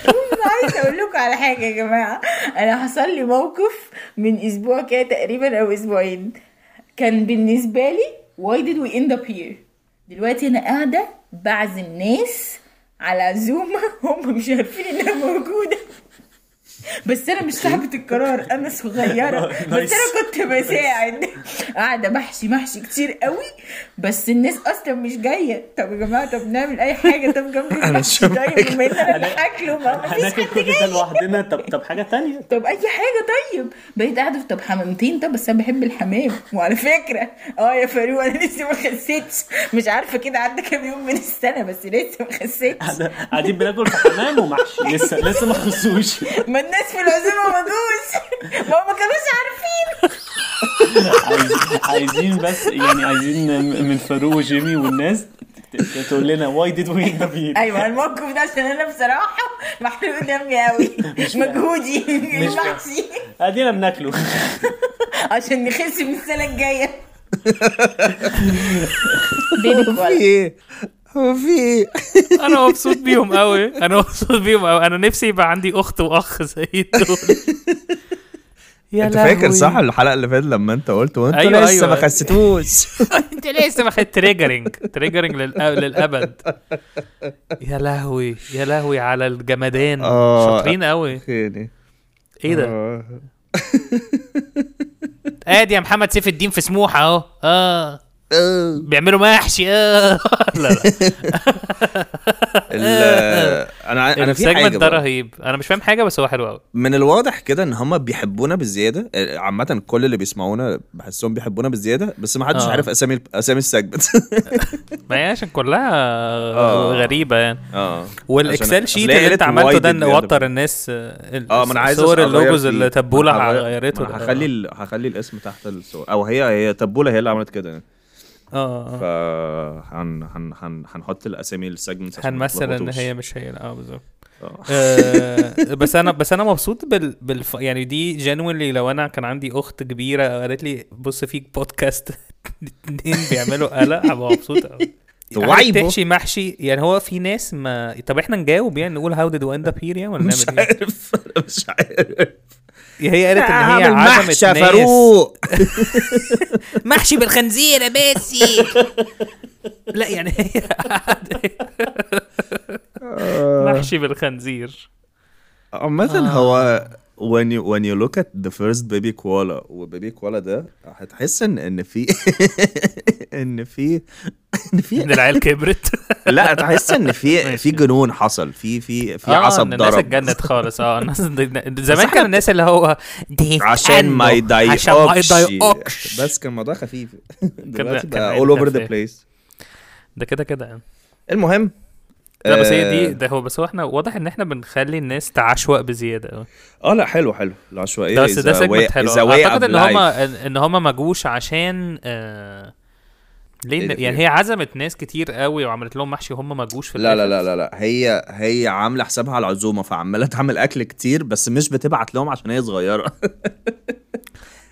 عايز اقول لكم على حاجه يا جماعه انا حصل لي موقف من اسبوع كده تقريبا او اسبوعين كان بالنسبه لي why did we end up here دلوقتي انا قاعده بعزم ناس على عزومه هم مش عارفين انها موجوده بس انا مش صاحبه القرار انا صغيره بس انا كنت بساعد قاعده بحشي محشي كتير قوي بس الناس اصلا مش جايه طب يا جماعه طب نعمل اي حاجه طب جنب المحشي طيب بما ان انا اللي هاكله ما مفيش هناكل حد كل جاي ده لوحدنا طب طب حاجه تانية طب اي حاجه طيب بقيت قاعده في طب حمامتين طب بس انا بحب الحمام وعلى فكره اه يا فاروق انا لسه ما خسيتش مش عارفه كده عدى كام يوم من السنه بس لسه ما خسيتش قاعدين بناكل في حمام ومحشي لسه لسه ما خصوش ما الناس في العزومه ما جوش ما هم ما كانوش عارفين عايز- عايزين بس يعني عايزين م- من فاروق وجيمي والناس ت- ت- تقول لنا واي ديد وي اند ايوه الموقف ده عشان انا بصراحه محروق دمي قوي مجهودي المحشي ادينا بناكله عشان نخس من السنه الجايه بيبي كوالا ايه هو في ايه انا مبسوط بيهم قوي انا مبسوط بيهم قوي انا نفسي يبقى عندي اخت واخ زي دول يا انت فاكر لهوي. صح الحلقه اللي فاتت لما انت قلت وانت أيوة، لسه ما أيوة. خستوش انت لسه ما خدت تريجرنج تريجرنج للابد يا لهوي يا لهوي على الجمدان آه. شاطرين قوي خيني ايه ده آه. ادي يا محمد سيف الدين في سموحه اهو اه بيعملوا محشي آه. لا ال- أنا ع- أنا في السيجمنت حاجة بقى. ده رهيب انا مش فاهم حاجه بس هو حلو قوي من الواضح كده ان هم بيحبونا بالزياده آه، عامه كل اللي بيسمعونا بحسهم بيحبونا بالزياده بس ما حدش آه. عارف اسامي اسامي السجمنت ما هي عشان كلها آه. غريبه يعني اه والاكسل عشان- شيت أصل هي اللي انت قالت عملته ده وايدد ان يعني. وتر الناس اه ما انا عايز صور أغير اللوجوز فيه. اللي ما تبوله أنا هغير- غيرته ما أنا هخلي ال- هخلي الاسم تحت الصور او هي هي تبوله هي اللي عملت كده يعني. اه ف آه. هن هن هن هنحط الاسامي السجمنت هنمثل ان هي مش هي اه بالظبط آه. آه، بس انا بس انا مبسوط بال, بالف... يعني دي جنولي لو انا كان عندي اخت كبيره قالت لي بص فيك بودكاست اتنين بيعملوا قلق هبقى مبسوط قوي عارف توعيبه. تحشي محشي يعني هو في ناس ما طب احنا نجاوب يعني نقول هاو ديد اند اب هير يعني ولا مش نعمل ايه؟ عارف أنا مش عارف هي قالت ان هي أعمل عزمت محشى ناس فاروق. محشي بالخنزير يا باسي لا يعني هي محشي بالخنزير عامة هو آه. when you when you look at the first baby koala وبيبي koala ده هتحس ان ان في ان في ان في ان العيال كبرت لا هتحس ان في في جنون حصل في في في آه، عصب إن الناس ضرب اتجنت خالص اه الناس زمان كان الناس اللي هو دي عشان ما عنه، يضايقكش عشان ما يضايقكش بس كان الموضوع خفيف دلوقتي كان بقى عيل all over the تافه. place ده كده كده يعني المهم لا بس هي آه، دي ده هو بس هو احنا واضح ان احنا بنخلي الناس تعشوق بزياده أوي. اه لا حلو حلو العشوائيه ده بس ده is a سيجمنت إيه، way- حلو is a way اعتقد of ان هم life. ان هم ما جوش عشان آه ليه إيه ده إن- يعني فيه؟ هي عزمت ناس كتير قوي وعملت لهم محشي وهم ما جوش في لا لا الآخر. لا لا لا هي هي عامله حسابها على العزومه فعماله تعمل اكل كتير بس مش بتبعت لهم عشان هي صغيره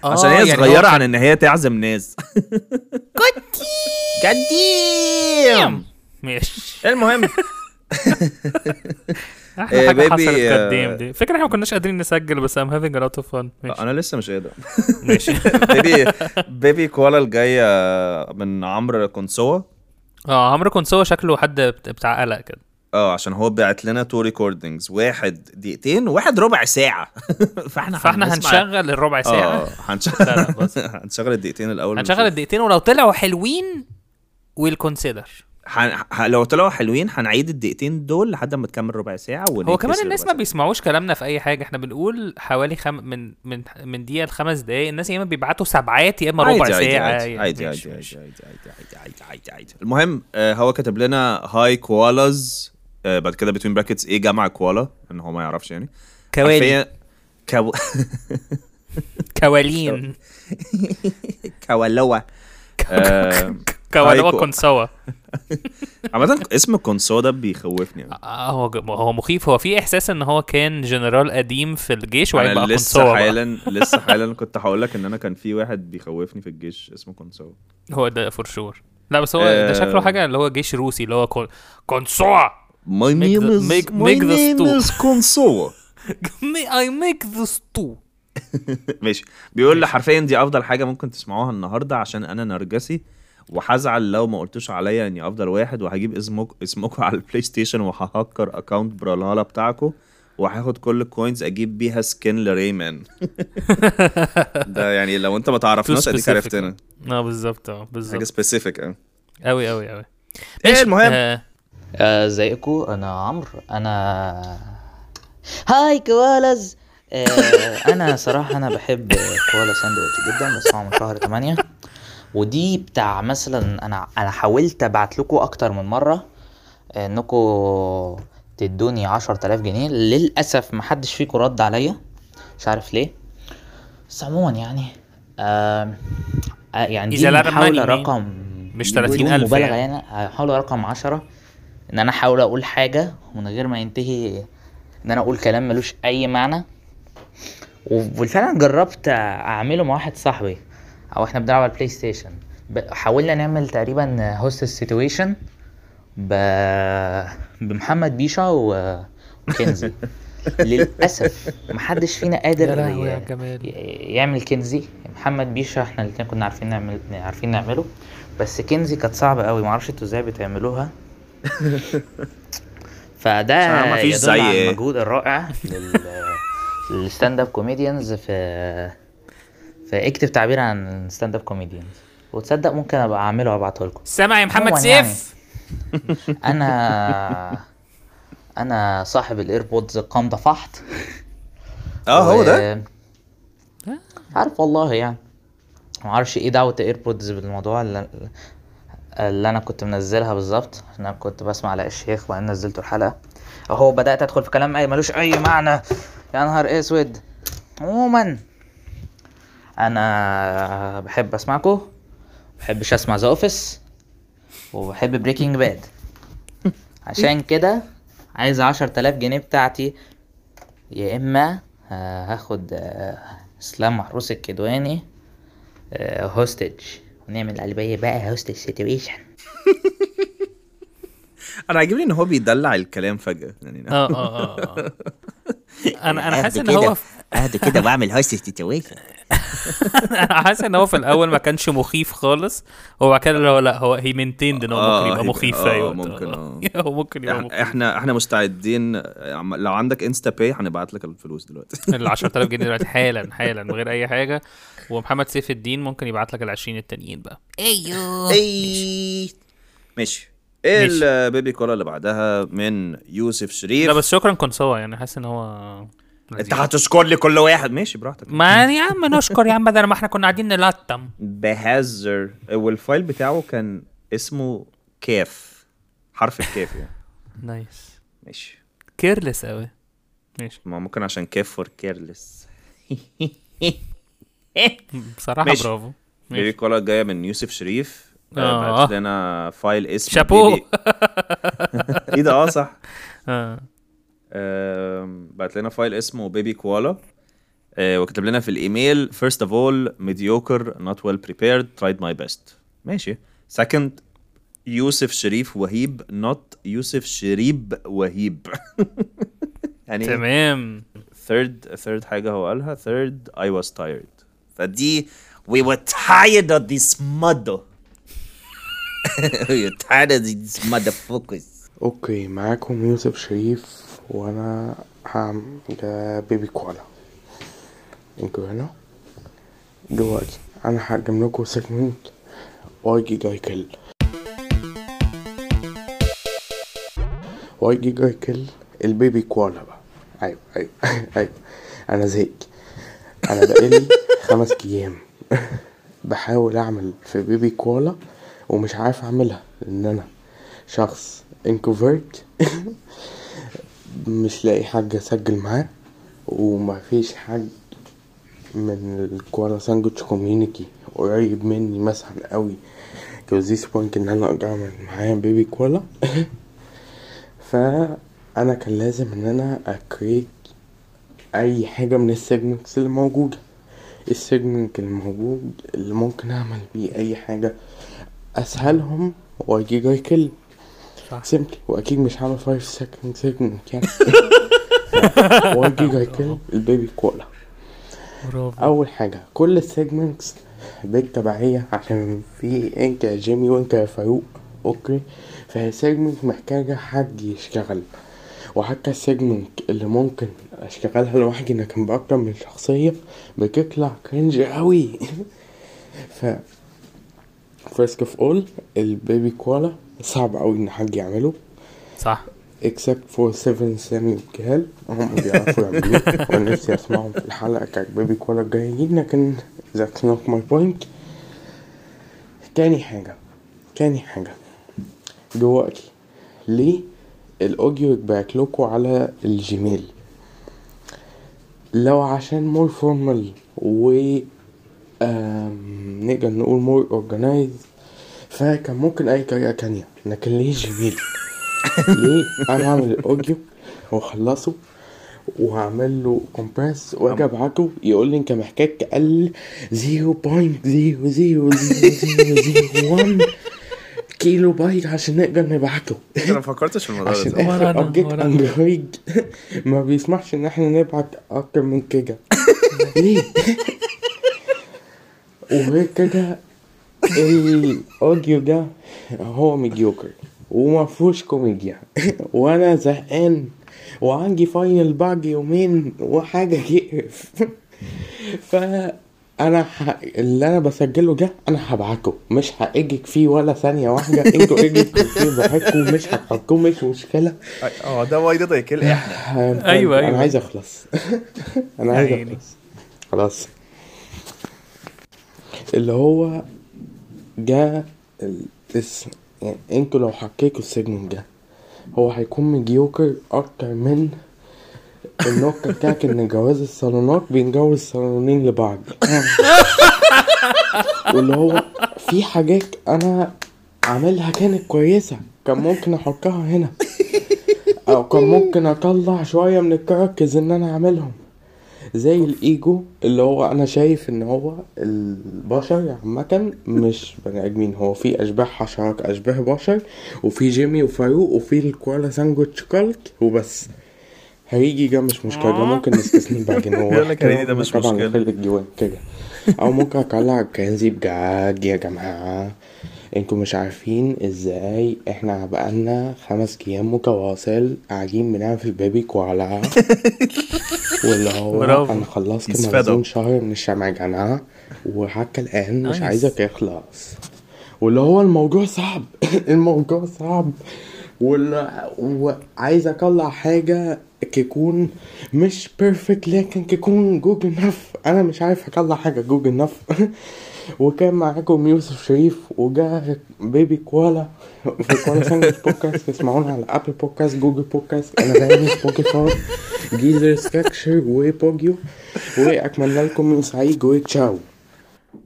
آه، عشان هي يعني هو صغيره كان- عن ان هي تعزم ناس قديم ماشي المهم احلى إيه، حاجه بيبي، حصلت آه، قدام دي فكره احنا ما كناش قادرين نسجل بس ام هافينج لوت اوف فن ماشي انا لسه مش قادر ماشي بيبي بيبي كوالا الجايه من عمرو كونسوا اه عمرو كونسوا شكله حد بت- بتاع قلق كده اه عشان هو بعت لنا تو ريكوردنجز واحد دقيقتين وواحد ربع ساعه فاحنا فاحنا هنسمع- هنشغل الربع اه ساعه لا، لا، هنشغل بص. هنشغل الدقيقتين الاول هنشغل الدقيقتين ولو طلعوا حلوين ويل كونسيدر هن... ه... لو طلعوا حلوين هنعيد الدقيقتين دول لحد ما تكمل ربع ساعة هو كمان الناس ما بيسمعوش كلامنا في اي حاجه احنا بنقول حوالي خم... من من من دقيقه لخمس دقائق الناس يا اما بيبعتوا سبعات يا اما ربع عادي ساعه عادي يعني عادي عادي ماشي، عادي ماشي. عادي عادي عادي عادي عادي عادي المهم آه هو كتب لنا هاي كوالاز آه بعد كده بتوين براكتس ايه جمع كوالا ان هو ما يعرفش يعني كوالي. حرفياً كو... كوالين كوالوا آه، كوالوا هاي كو- كونسوا عامة اسم كونسو ده بيخوفني آه، هو ج- هو مخيف هو في احساس ان هو كان جنرال قديم في الجيش وبعدين انا بقى لسه كونسوا بقى. حالا لسه حالا كنت هقول لك ان انا كان في واحد بيخوفني في الجيش اسمه كونسو هو ده فور شور لا بس هو آه. ده شكله حاجه اللي هو جيش روسي اللي هو كون... كونسوا My Make name the- is make- my make the name stew. is Konsoa. اي ميك ذا ستو ماشي بيقول لي حرفيا دي افضل حاجه ممكن تسمعوها النهارده عشان انا نرجسي وهزعل لو ما قلتوش عليا اني افضل واحد وهجيب اسمك اسمكم على البلاي ستيشن وههكر اكونت برالهالا بتاعكم وهاخد كل الكوينز اجيب بيها سكين لريمان ده يعني لو انت ما تعرفناش اديك عرفتنا اه بالظبط اه حاجه بالظبط سبيسيفيك اه قوي قوي قوي ايه المهم آه، ازيكم انا عمرو انا هاي كوالز آه، انا صراحه انا بحب كوالا ساندويتش جدا بسمعه من شهر 8 ودي بتاع مثلا انا انا حاولت ابعت لكم اكتر من مره انكم تدوني 10000 جنيه للاسف محدش فيكم رد عليا مش عارف ليه بس عموما يعني آه آه، يعني دي إذا لا محاولة رماني رقم مش بدون 30,000 مبالغة يعني. يعني محاولة رقم عشرة إن أنا أحاول أقول حاجة من غير ما ينتهي إن أنا أقول كلام ملوش أي معنى وبالفعل جربت أعمله مع واحد صاحبي أو إحنا بنلعب على البلاي ستيشن ب- حاولنا نعمل تقريبا هوست سيتويشن ب... بمحمد بيشا و... وكنزي للأسف محدش فينا قادر يا لهوي يا ي- جمال. ي- يعمل كنزي محمد بيشا احنا الاتنين كنا عارفين نعمل عارفين نعمله بس كنزي كانت صعبة قوي معرفش انتوا ازاي بتعملوها فده عشان مفيش يدل زي إيه. على ايه. المجهود الرائع للستاند اب كوميديانز في فاكتب تعبير عن ستاند اب كوميديانز وتصدق ممكن ابقى اعمله وابعته لكم سامع يا محمد عموماً يعني. سيف انا انا صاحب الايربودز القام دفحت اه هو و- عارف والله يعني ما اعرفش ايه دعوه الايربودز بالموضوع اللي, اللي انا كنت منزلها بالظبط انا كنت بسمع على الشيخ وبعدين نزلت الحلقه اهو بدات ادخل في كلام اي ملوش اي معنى يا نهار اسود عموما انا بحب اسمعكم بحبش اسمع ذا اوفيس وبحب بريكنج باد عشان كده عايز عشر تلاف جنيه بتاعتي يا اما آه، هاخد آه، اسلام محروس الكدواني هوستج ونعمل قلبية بقى هوستج سيتويشن انا عاجبني ان هو بيدلع الكلام فجاه يعني اه اه اه انا انا حاسس ان هو اهدى يعني كده واعمل هايست سيتويشن انا حاسس ان هو في الاول ما كانش مخيف خالص هو بعد كده اللي هو لا هو هي مينتيند ان هو ممكن يبقى مخيف في أي وقت. آه، ممكن آه. اه هو ممكن يبقى مخيف إح- احنا احنا مستعدين آه، عم- لو عندك انستا باي هنبعت لك الفلوس دلوقتي ال 10000 جنيه دلوقتي حالا حالا من غير اي حاجه ومحمد سيف الدين ممكن يبعت لك ال 20 التانيين بقى أيوه. ايوه ماشي. ماشي ايه ماشي. البيبي كولا اللي بعدها من يوسف شريف لا بس شكرا كونسوا يعني حاسس ان هو انت هتسكر لي كل واحد ماشي براحتك ما يعني يا عم نشكر يا عم بدل ما احنا كنا قاعدين نلطم بهزر والفايل بتاعه كان اسمه كاف حرف الكاف يعني نايس ماشي كيرلس قوي ماشي ما ممكن عشان كاف فور كيرلس بصراحه ماشي. برافو ماشي. بيبي كولا جايه من يوسف شريف آه. آه، بعت لنا فايل اسمه شابوه. بيبي- ايه ده اه صح آه. آم، بعت لنا فايل اسمه بيبي كوالا آه، وكتب لنا في الايميل first of all mediocre not well prepared tried my best ماشي second يوسف شريف وهيب not يوسف شريب وهيب يعني تمام third third حاجه هو قالها third I was tired فدي we were tired of this mother we were tired of this motherfuckers اوكي معاكم يوسف شريف وانا هعمل بيبي كوالا انتوا هنا دلوقتي انا هقدم لكم سيجمنت واي جي جاي كيل واي جي جاي كيل البيبي كوالا بقى ايوه ايوه ايوه انا زهقت انا بقالي خمس ايام بحاول اعمل في بيبي كوالا ومش عارف اعملها لان انا شخص انكوفرت مش لاقي حد اسجل معاه ومفيش حد من الكوالا ساندوتش كوميونيتي قريب مني مثلا قوي كوزيس بوينت ان انا اقدر اعمل معاه بيبي كوالا فانا كان لازم ان انا اكريت اي حاجه من السيجمنتس اللي موجوده السيجمنت الموجود اللي ممكن اعمل بيه اي حاجه اسهلهم واجي جاي كل سيمبلي واكيد مش هعمل 5 سكند سيجمنت يعني واجي جاي كل البيبي كولا اول حاجه كل السيجمنتس بالتبعيه عشان في انت يا جيمي وانت يا فاروق اوكي فالسيجمنت محتاجه حد يشتغل وحتى السيجمنت اللي ممكن اشتغلها لوحدي انا كان باكتر من شخصيه بتطلع كرنج قوي ف فيرست اوف اول البيبي كوالا صعب قوي ان حد يعمله صح except for 7 سامي وكهال هم بيعرفوا يعملوه وانا نفسي اسمعهم في الحلقه بتاعت بيبي كوالا الجايين لكن that's not my point تاني حاجه تاني حاجه دلوقتي ليه الاوديو يتبعت لكم على الجيميل لو عشان مور فورمال و آم، نقدر نقول مور اورجنايز فكان ممكن اي طريقه تانية لكن ليه جيميل ليه انا اعمل الاوديو واخلصه وهعمل له كومبريس واجي ابعته يقول لي انت محتاج تقلل 0.00001 كيلو بايت عشان نقدر نبعته انا إيه، ما فكرتش في الموضوع عشان ده اخر ابجيت اندرويد ما بيسمحش ان احنا نبعت اكتر من كده ليه؟ وغير كده الاوديو ده هو ميديوكر وما فيهوش كوميديا وانا زهقان وعندي فاينل بعد يومين وحاجه يقرف ف انا ح... اللي انا بسجله ده انا هبعته مش هاجيك فيه ولا ثانيه واحده انتوا اجيكوا فيه براحتكم مش هتحطوه مش مشكله اه ده واي ده يكل احنا أيوة، أيوة، ايوه ايوه انا عايز اخلص انا عايز يعني عيني. اخلص خلاص اللي هو جا ال- الس... يعني انتوا لو حكيتوا السيجمنت ده هو هيكون مديوكر اكتر من النكته بتاعت ان جواز الصالونات بينجوز صالونين لبعض واللي هو في حاجات انا عاملها كانت كويسه كان ممكن احطها هنا او كان ممكن اطلع شويه من الكراكز ان انا اعملهم زي الايجو اللي هو انا شايف ان هو البشر عامه مش بني ادمين هو في اشباه حشرات اشباه بشر وفي جيمي وفاروق وفي الكوالا ساندويتش كالت وبس هيجي ده مش مشكله ده ممكن آه. نستثني بعدين هو يقول لك هيجي ده مش طبعا مشكلة. خلي الجوان كده او ممكن اطلع كنزيب جعاد يا جماعه انتوا مش عارفين ازاي احنا بقالنا خمس ايام متواصل قاعدين بنعمل في البيبي كوالا واللي هو برافو. انا خلصت He's fed up. مخزون شهر من الشمعجنة وحتى الآن مش Nice. عايزك يخلص واللي هو الموضوع صعب الموضوع صعب واللي وعايز اطلع حاجة تكون مش بيرفكت لكن تكون جوجل نف انا مش عارف اطلع حاجة جوجل نف وكان معاكم يوسف شريف وجا بيبي كوالا في كوالا ساندويتش بودكاست تسمعونا على ابل بودكاست جوجل بودكاست انا دايما سبوتيفاي جيزر ستراكشر وبوجيو واتمنى لكم سعيد وتشاو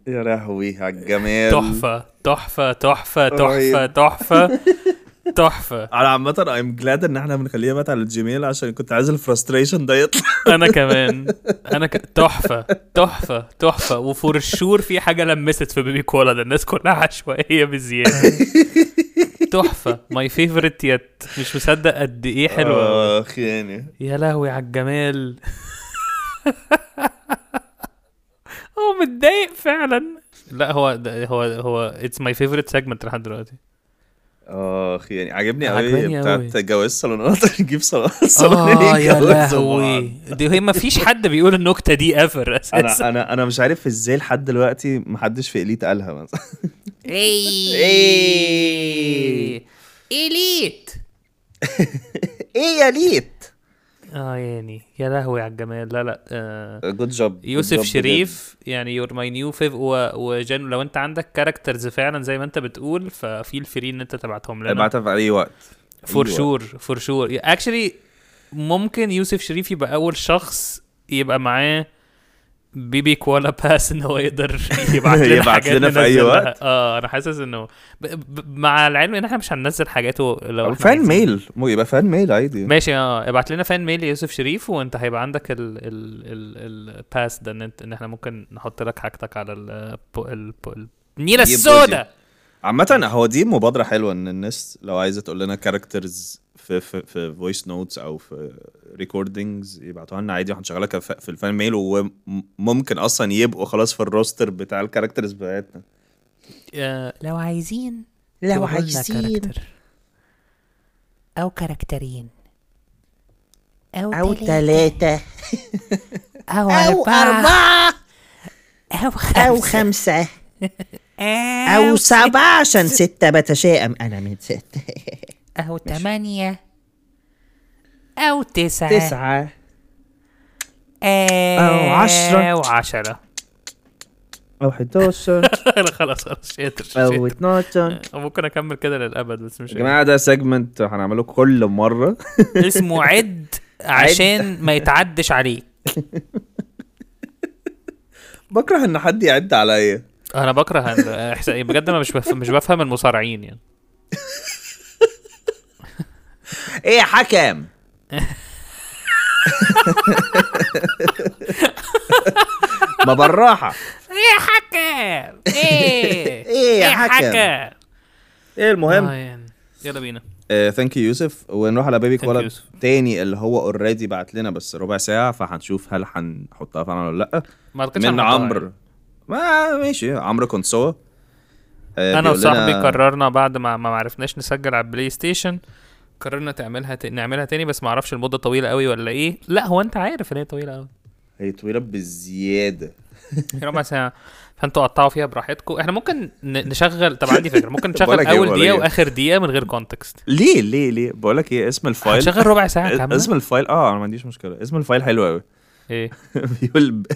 يا لهوي على الجمال تحفه تحفه تحفه تحفه رهيب. تحفه تحفه انا عامة ايم جلاد ان احنا بنخليها بقى على الجيميل عشان كنت عايز الفرستريشن ده يطلع انا كمان انا ك... تحفه تحفه تحفه وفور الشور في حاجه لمست في بيبي كولا ده الناس كلها عشوائيه بزياده تحفه ماي فيفورت يت مش مصدق قد ايه حلوه اخ يعني يا لهوي على الجمال هو متضايق فعلا لا هو ده هو هو اتس ماي فيفورت سيجمنت لحد دلوقتي اخ يعني عاجبني عجباني قوي أوي. بتاعت جواز صالونات نجيب صالون- صالونين اه يا يتجوزوا لهوي دي هي ما فيش حد بيقول النكته دي ايفر بعض. انا اساسا انا انا مش عارف ازاي لحد دلوقتي محدش في اليت قالها مثلا إيه. إيه. ايه إليت إيه ايه يا ليت اه يعني يا لهوي على الجمال لا لا آه جود جوب يوسف شريف يعني يور ماي نيو فيف وجان لو انت عندك كاركترز فعلا زي ما انت بتقول ففيل فري ان انت تبعتهم لنا ابعتها في اي وقت فور أيوة. شور فور شور اكشلي ممكن يوسف شريف يبقى اول شخص يبقى معاه بيبي كوالا باس ان هو يقدر يبعت لنا يبعت حاجات لنا في أي ننزلها. وقت. اه انا حاسس انه ب... ب... مع العلم ان احنا مش هننزل حاجاته لو او احنا فان عايزين. ميل مو يبقى فان ميل عادي ماشي اه ابعت لنا فان ميل يوسف شريف وانت هيبقى عندك ال ال ال الباس ده ان انت ان احنا ممكن نحط لك حاجتك على ال ال ال النيله دي السوداء عامة هو دي مبادرة حلوة ان الناس لو عايزة تقول لنا كاركترز في في في فويس نوتس او في ريكوردنجز يبعتوها لنا عادي وهنشغلها كف- في الفان ميل وممكن اصلا يبقوا خلاص في الروستر بتاع الكاركترز بتاعتنا آه لو عايزين لو تقولولنا عايزين. كاركتر. أو كاركترين أو, أو تلاتة أو, أو أربعة أو خمسة أو خمسة أو, أو سبعة عشان ستة بتشائم أنا من ستة أو تمانية أو تسعة تسعة أو عشرة. إيه. أو عشرة أو 11 انا خلاص خلاص شاطر شاطر. أو 12 آه، ممكن اكمل كده للابد بس مش يا جماعة ده سيجمنت هنعمله كل مرة اسمه عد عشان ما يتعدش عليك بكره ان حد يعد عليا انا بكره ال- إحسا- بجد انا مش بفهم مش بفهم المصارعين يعني ايه يا حكم ما بالراحة إيه يا حكام إيه إيه يا حكم؟ ايه المهم آه، يعني. يلا بينا ثانك يو آه، يوسف ونروح على بيبي Thank you كولا يوسف. تاني اللي هو اوريدي بعت لنا بس ربع ساعه فهنشوف هل هنحطها فعلا ولا لا ما يعني. أعتقدش من هنحطها عمرو ما ماشي عمرو كونسوا آه، انا بيقول وصاحبي لنا- قررنا بعد ما ما معرفناش نسجل على البلاي ستيشن قررنا تعملها ت... نعملها تاني بس ما إيه. اعرفش المده طويله قوي ولا ايه لا هو انت عارف ان هي طويله قوي هي طويله بزياده ربع ساعه فانتوا قطعوا فيها براحتكم احنا ممكن ن- نشغل طب عندي فكره ممكن طب بقول نشغل لك إيه، اول بقول دقيقه لك إيه. واخر دقيقه من غير كونتكست ليه ليه ليه بقول لك ايه اسم الفايل هتشغل ربع ساعة اس- كاملة؟ اسم الفايل آه، اه انا ما عنديش مشكله اسم الفايل حلو قوي ايه بيقول ب-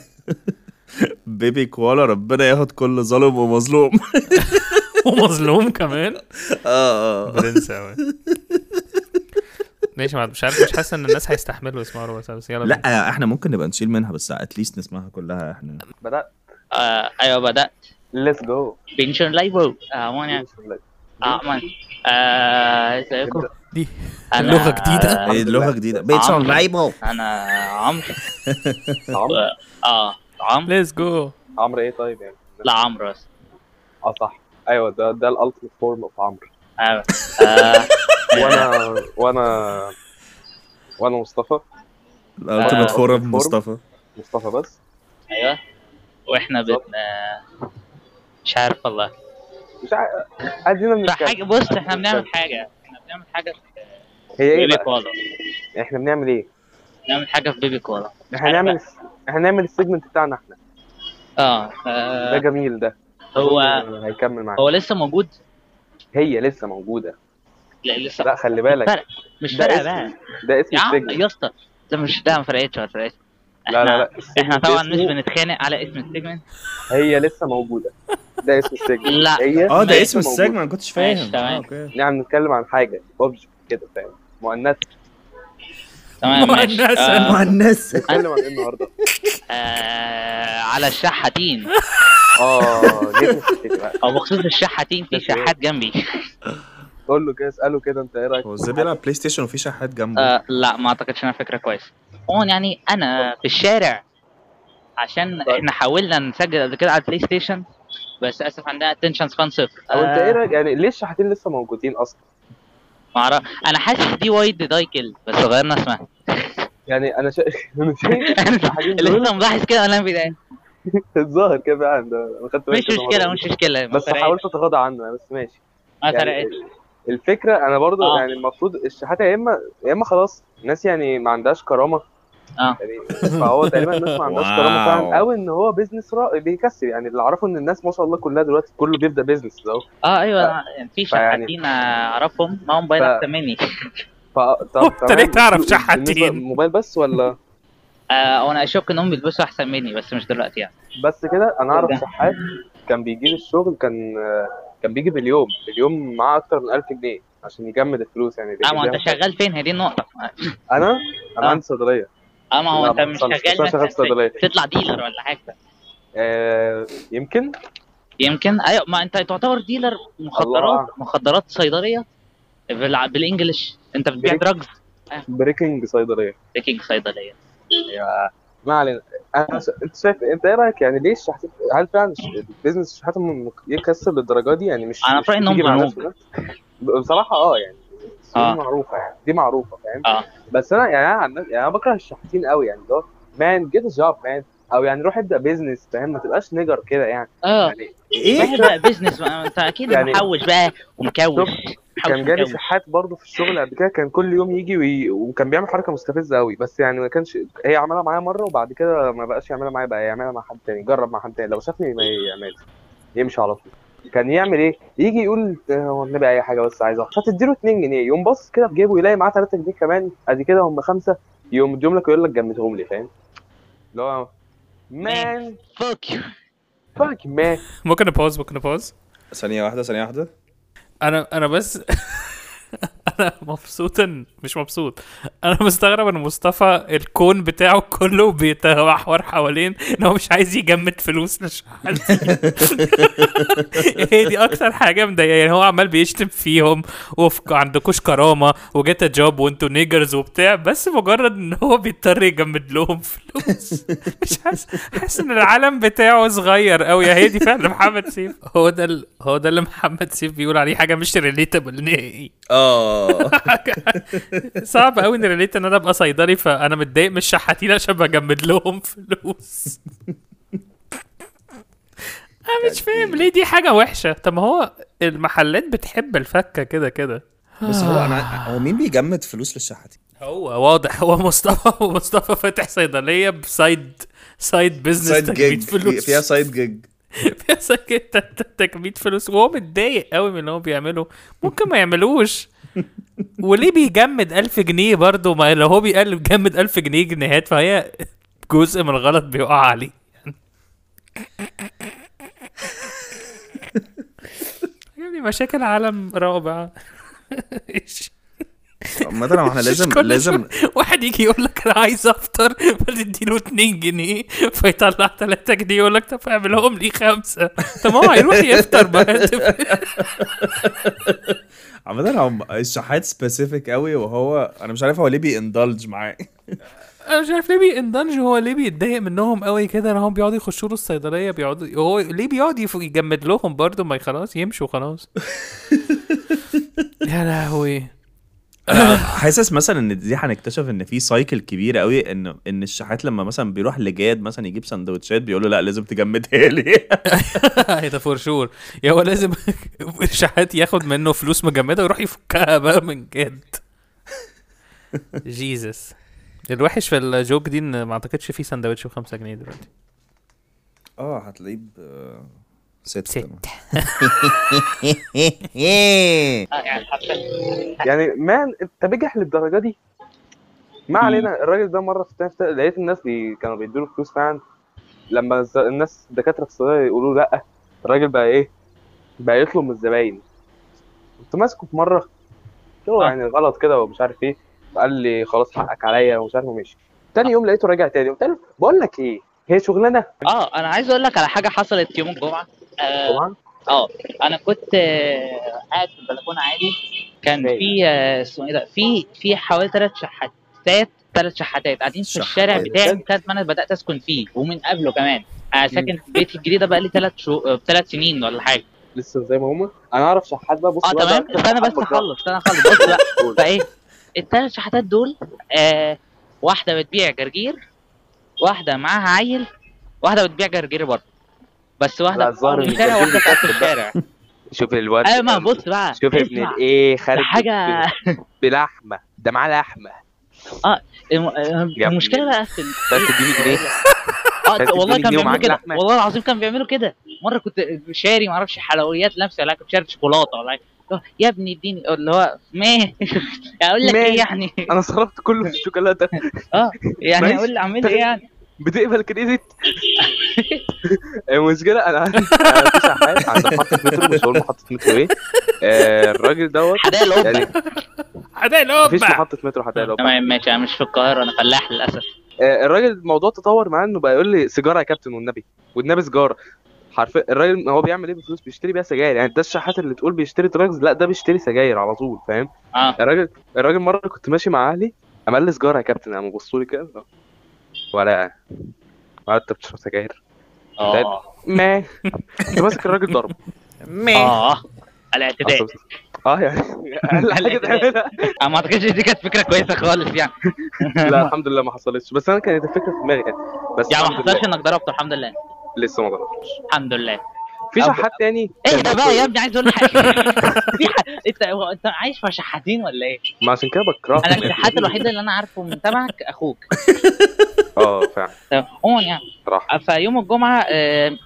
بيبي كوالا ربنا ياخد كل ظالم ومظلوم ومظلوم كمان آه، اه اه برنس قوي ماشي ما- مش عارف مش حاسس ان الناس هيستحملوا يسمعوا ربع ساعه بس يلا بينا. لا احنا ممكن نبقى نشيل منها بس اتليست نسمعها كلها احنا بدأت آه أيوه بدأت ليتس جو بنشر لايف أمان أمان يعني. آه، ازيكم دي أنا- آه، لغة جديدة؟ إيه، لغة جديدة. It's عمرو. unreliable. أنا عمرو آه، اه عمرو ليتس جو عمرو ايه طيب يعني لا عمرو بس اه صح ايوه ده ده الالتيميت فورم اوف عمرو آه، آه، وانا وانا وانا مصطفى الالتيميت آه. فورم مصطفى مصطفى بس أيوه وإحنا بن آه، مش عارف والله مش عارف ادينا بنتكلم حاجة بص إحنا بنعمل حاجة إحنا بنعمل حاجة هي ايه بيبي بقى؟ كوالا احنا بنعمل ايه؟ بنعمل حاجة في بيبي كوالا احنا هنعمل احنا هنعمل السيجمنت بتاعنا احنا اه ده آه، جميل ده هو- هيكمل معاك هو لسه موجود هي لسه موجوده لا لسه لا خلي مش فارق بالك مش ده فارقه اسم- بقى ده اسم يا عم السجن يا اسطى ده مش ده ما فرقتش ما فرقتش لا لا لا احنا طبعا مش اسمه- بنتخانق على اسم السيجمنت هي لسه موجوده ده اسم السجن لا. هي آه، ده لسه اسم موجودة. السجن، أنا ما كنتش فاهم. ماشي، تمام. آه، نعم نتكلم عن حاجه اوبجكت كده فاهم مؤنث تمام ماشي آه، نتكلم عن ايه النهارده؟ آه، على الشحاتين اه ليه تفتكر بقى؟ او بخصوص الشحاتين في شحات جنبي قول له كده اساله كده انت ايه رايك؟ هو ازاي بيلعب بلاي ستيشن وفي شحات جنبه آه، لا ما اعتقدش انها فكره كويسه عموما يعني انا في الشارع عشان طيب. احنا حاولنا نسجل قبل كده على البلاي ستيشن بس اسف عندنا اتنشن سبان صفر او انت ايه آه، رايك يعني ليه الشحاتين لسه موجودين اصلا؟ معرف انا حاسس دي وايد دايكل بس غيرنا اسمها يعني انا شا... انا شايف الشحاتين دول لسه ملاحظ كده ولا بدايه الظاهر كده فعلا ده آه. انا خدت بالي مش كذا مشكله مرة. مش مشكله ما بس فرقتش. حاولت اتغاضى عنه يعني بس ماشي ما يعني فرقتش الفكره انا برضو آه. يعني المفروض الشحات يا اما يا اما خلاص الناس يعني ما عندهاش كرامه اه يعني فهو تقريبا الناس ما عندهاش كرامه واو. فعلا او ان هو بيزنس را... بيكسب يعني اللي اعرفه ان الناس ما شاء الله كلها دلوقتي كله بيبدا بيزنس اهو اه ايوه أنا في فيعني- شحاتين اعرفهم معاهم باينات يعني ف- تماني ف... طب وأنت ليه تمام. تعرف بالنسبة- شحاتين؟ موبايل بس ولا آه وانا اشك انهم بيلبسوا احسن مني بس مش دلوقتي يعني بس كده انا اعرف شحات اه، كان بيجي لي الشغل كان كان بيجي باليوم باليوم معاه اكتر من 1000 جنيه عشان يجمد الفلوس يعني اه ما هو بيجيب انت لها- شغال فين هي دي النقطه انا انا آه. عندي صيدليه اه ما هو لا، انت مش بصلح. بس شغال أنا شغال مثلاً صيدلية. تطلع ديلر ولا حاجه آه، يمكن يمكن ايوه ما انت تعتبر ديلر مخدرات الله. مخدرات صيدليه بالع- بالانجلش انت بتبيع بريك- دراجز بريكنج صيدليه بيكينج صيدليه ايوه ما علينا انا ش... انت شايف انت ايه رايك يعني ليه الشحات هل فعلا ش- البيزنس الشحات م- م- يكسب للدرجه دي يعني مش أنا مش في رأيي إنهم بتيجي مع ذنوب. نفس الناس؟ ب- بصراحه اه يعني دي آه. معروفه يعني دي معروفه فاهم اه بس انا يعني انا عن نفسي- يعني انا بكره الشحاتين قوي يعني اللي هو مان جيت جاب مان او يعني روح ابدا بيزنس فاهم ما تبقاش نيجر كده يعني اه يعني ايه بقى بيزنس ما انت اكيد يعني- محوش بقى ومكوش كان جالي مكوش. شحات برضه في الشغل قبل كده كان كل يوم يجي وي... وكان بيعمل حركه مستفزه قوي بس يعني ما كانش هي عملها معايا مره وبعد كده ما بقاش يعملها معايا بقى يعملها مع حد تاني جرب مع حد تاني لو شافني ما يعملش يمشي على طول كان يعمل ايه؟ يجي يقول آه، هو النبي اي حاجه بس عايز اخش هتديله 2 جنيه يقوم باص كده في جيبه يلاقي معاه 3 جنيه كمان ادي كده هم خمسه يقوم يديهم لك ويقول لك جمدهم لي فاهم؟ اللي هو مان فاك يو فاك مان ممكن نبوز ممكن نبوز ثانيه واحده ثانيه واحده انا انا بس انا مبسوط إن- مش مبسوط انا مستغرب ان مصطفى الكون بتاعه كله بيتمحور حوالين ان هو مش عايز يجمد فلوس لشحاتين هي دي اكتر حاجه مضايقه يعني هو عمال بيشتم فيهم وفي عندكوش كرامه وجيت جوب وانتوا نيجرز وبتاع بس مجرد ان هو بيضطر يجمد لهم فلوس مش حاسس حاسس ان العالم بتاعه صغير قوي هي دي فعلا محمد سيف هو ده ال... هو ده اللي محمد سيف بيقول عليه حاجه مش ريليتابل نهائي اه صعب قوي ان ريليت ان انا ابقى صيدلي فانا متضايق من الشحاتين عشان بجمد لهم فلوس انا مش فاهم ليه دي حاجه وحشه طب ما هو المحلات بتحب الفكه كده كده بس هو انا هو مين بيجمد فلوس للشحاتين؟ هو واضح هو مصطفى ومصطفى فاتح صيدليه بسايد سايد بزنس Side تكبيت gig. فلوس فيها سايد جيج فيها سايد تكبيت فلوس وهو متضايق قوي من اللي هو بيعمله ممكن ما يعملوش وليه بيجمد 1000 جنيه برضه ما لو هو بيقل بيجمد 1000 جنيه جنيهات فهي جزء من الغلط بيقع عليه يعني مشاكل عالم رابع مثلا احنا لازم مش كل لازم شوية واحد يجي يقول لك انا عايز افطر فتديله 2 جنيه فيطلع 3 جنيه يقول لك طب اعملهم لي خمسه طب ما هو هيروح يفطر بقى عامة هو الشحات سبيسيفيك قوي وهو انا مش عارف هو ليه بيندلج معاه انا مش عارف ليه بيندمج هو ليه بيتضايق منهم قوي كده ان هم بيقعدوا يخشوا له الصيدليه بيقعدوا هو ليه بيقعد يف- يجمد لهم برضه ما خلاص يمشوا خلاص يا لهوي أنا آه، حاسس مثلا ان دي هنكتشف ان في سايكل كبير قوي ان ان الشحات لما مثلا بيروح لجاد مثلا يجيب سندوتشات بيقول له لا لازم تجمدها لي ده فور شور يا هو لازم الشحات ياخد منه فلوس مجمده ويروح يفكها بقى من جد جيزس الوحش في الجوك دي ان ما اعتقدش في سندوتش ب 5 جنيه دلوقتي اه هتلاقيه ب- ستة يعني ما انت بجح للدرجه دي ما علينا الراجل ده مره في تافته لقيت الناس بي... كانوا بيدوا له فلوس فعلا لما الز- الناس الدكاتره في الصيدليه يقولوا لا الراجل بقى ايه بقى يطلب من الزباين كنت ماسكه في مره قلت آه. له يعني غلط كده ومش عارف ايه قال لي خلاص حقك عليا ومش عارف ومشي تاني يوم لقيته راجع تاني قلت له بقول لك ايه هي شغلانه اه انا عايز اقول لك على حاجه حصلت يوم الجمعه اه اه انا كنت آه، قاعد في البلكونه عادي كان في آه، اسمه ايه ده في في حوالي ثلاث شحاتات ثلاث شحاتات قاعدين في الشارع بتاعي من ساعه ما انا بدات اسكن فيه ومن قبله كمان انا ساكن في بيتي الجديد ده بقى لي ثلاث شهور ثلاث سنين ولا حاجه لسه زي ما هما انا اعرف شحات بقى بص اه بقى تمام بقى- استنى بس اخلص استنى اخلص بص بقى فايه الثلاث شحاتات دول آه واحده بتبيع جرجير واحده معاها عيل واحده بتبيع جرجير برضه بس لا، واحده في الظاهر أول إن الشارع الجرجير واحده في آخر بيكسب بقى. الشارع شوف الواد ايوه ما بص بقى شوف ابن اسمع. الايه خارج حاجة- ب- بلحمه ده معاه لحمه اه الم- آه، المشكله بقى في ال- بس إيه؟ اديني جنيه بس اه والله اديني كان جنيه بيعملوا ومعاك كده لحمة. والله العظيم كان بيعملوا كده مره كنت شاري ما اعرفش حلويات لمسه ولا كنت شاري شوكولاته ولا حاجة. يا ابني اديني اللي هو ماشي اقول لك ايه ماشي. يعني انا صرفت كله في الشوكولاته اه يعني ماشي. اقول اعمل ايه يعني بتقبل كريدت المشكله انا عندي أنا في شحات عند محطه مترو مش هقول محطه مترو ايه آه، الراجل دوت يعني عداء مفيش القبة محطه مترو حتى لو تمام ماشي انا مش في القاهره انا فلاح للاسف آه، الراجل الموضوع تطور معاه انه بقى يقول لي سيجاره يا كابتن والنبي والنبي سيجاره حرفيا الراجل هو بيعمل ايه بالفلوس بيشتري بيها سجاير يعني ده الشحات اللي تقول بيشتري دراجز لا ده بيشتري سجاير على طول فاهم آه. الراجل الراجل مره كنت ماشي مع اهلي قام قال لي سيجاره يا كابتن قام بصوا لي كده ولا ولا انت بتشرب سجاير آه. ما كنت ماسك الراجل ضرب اه الاعتداء اه يعني اقل حاجه تعملها انا آه، ما اعتقدش دي كانت فكره كويسه خالص يعني لا الحمد لله ما حصلتش بس انا كانت الفكره في دماغي يعني بس يعني ما الحمد لله. حصلش انك ضربته الحمد لله لسه ما ضربتش الحمد لله في أب- شحات تاني ايه ده بقى يا ابني عايز اقول لك حاجه في ح- انت هو انت عايش مع شحاتين ولا ايه؟ ما عشان كده بكرهه انا الشحات الوحيد اللي انا عارفه من تبعك اخوك اه فعلا عموما يعني راح فيوم الجمعه آه،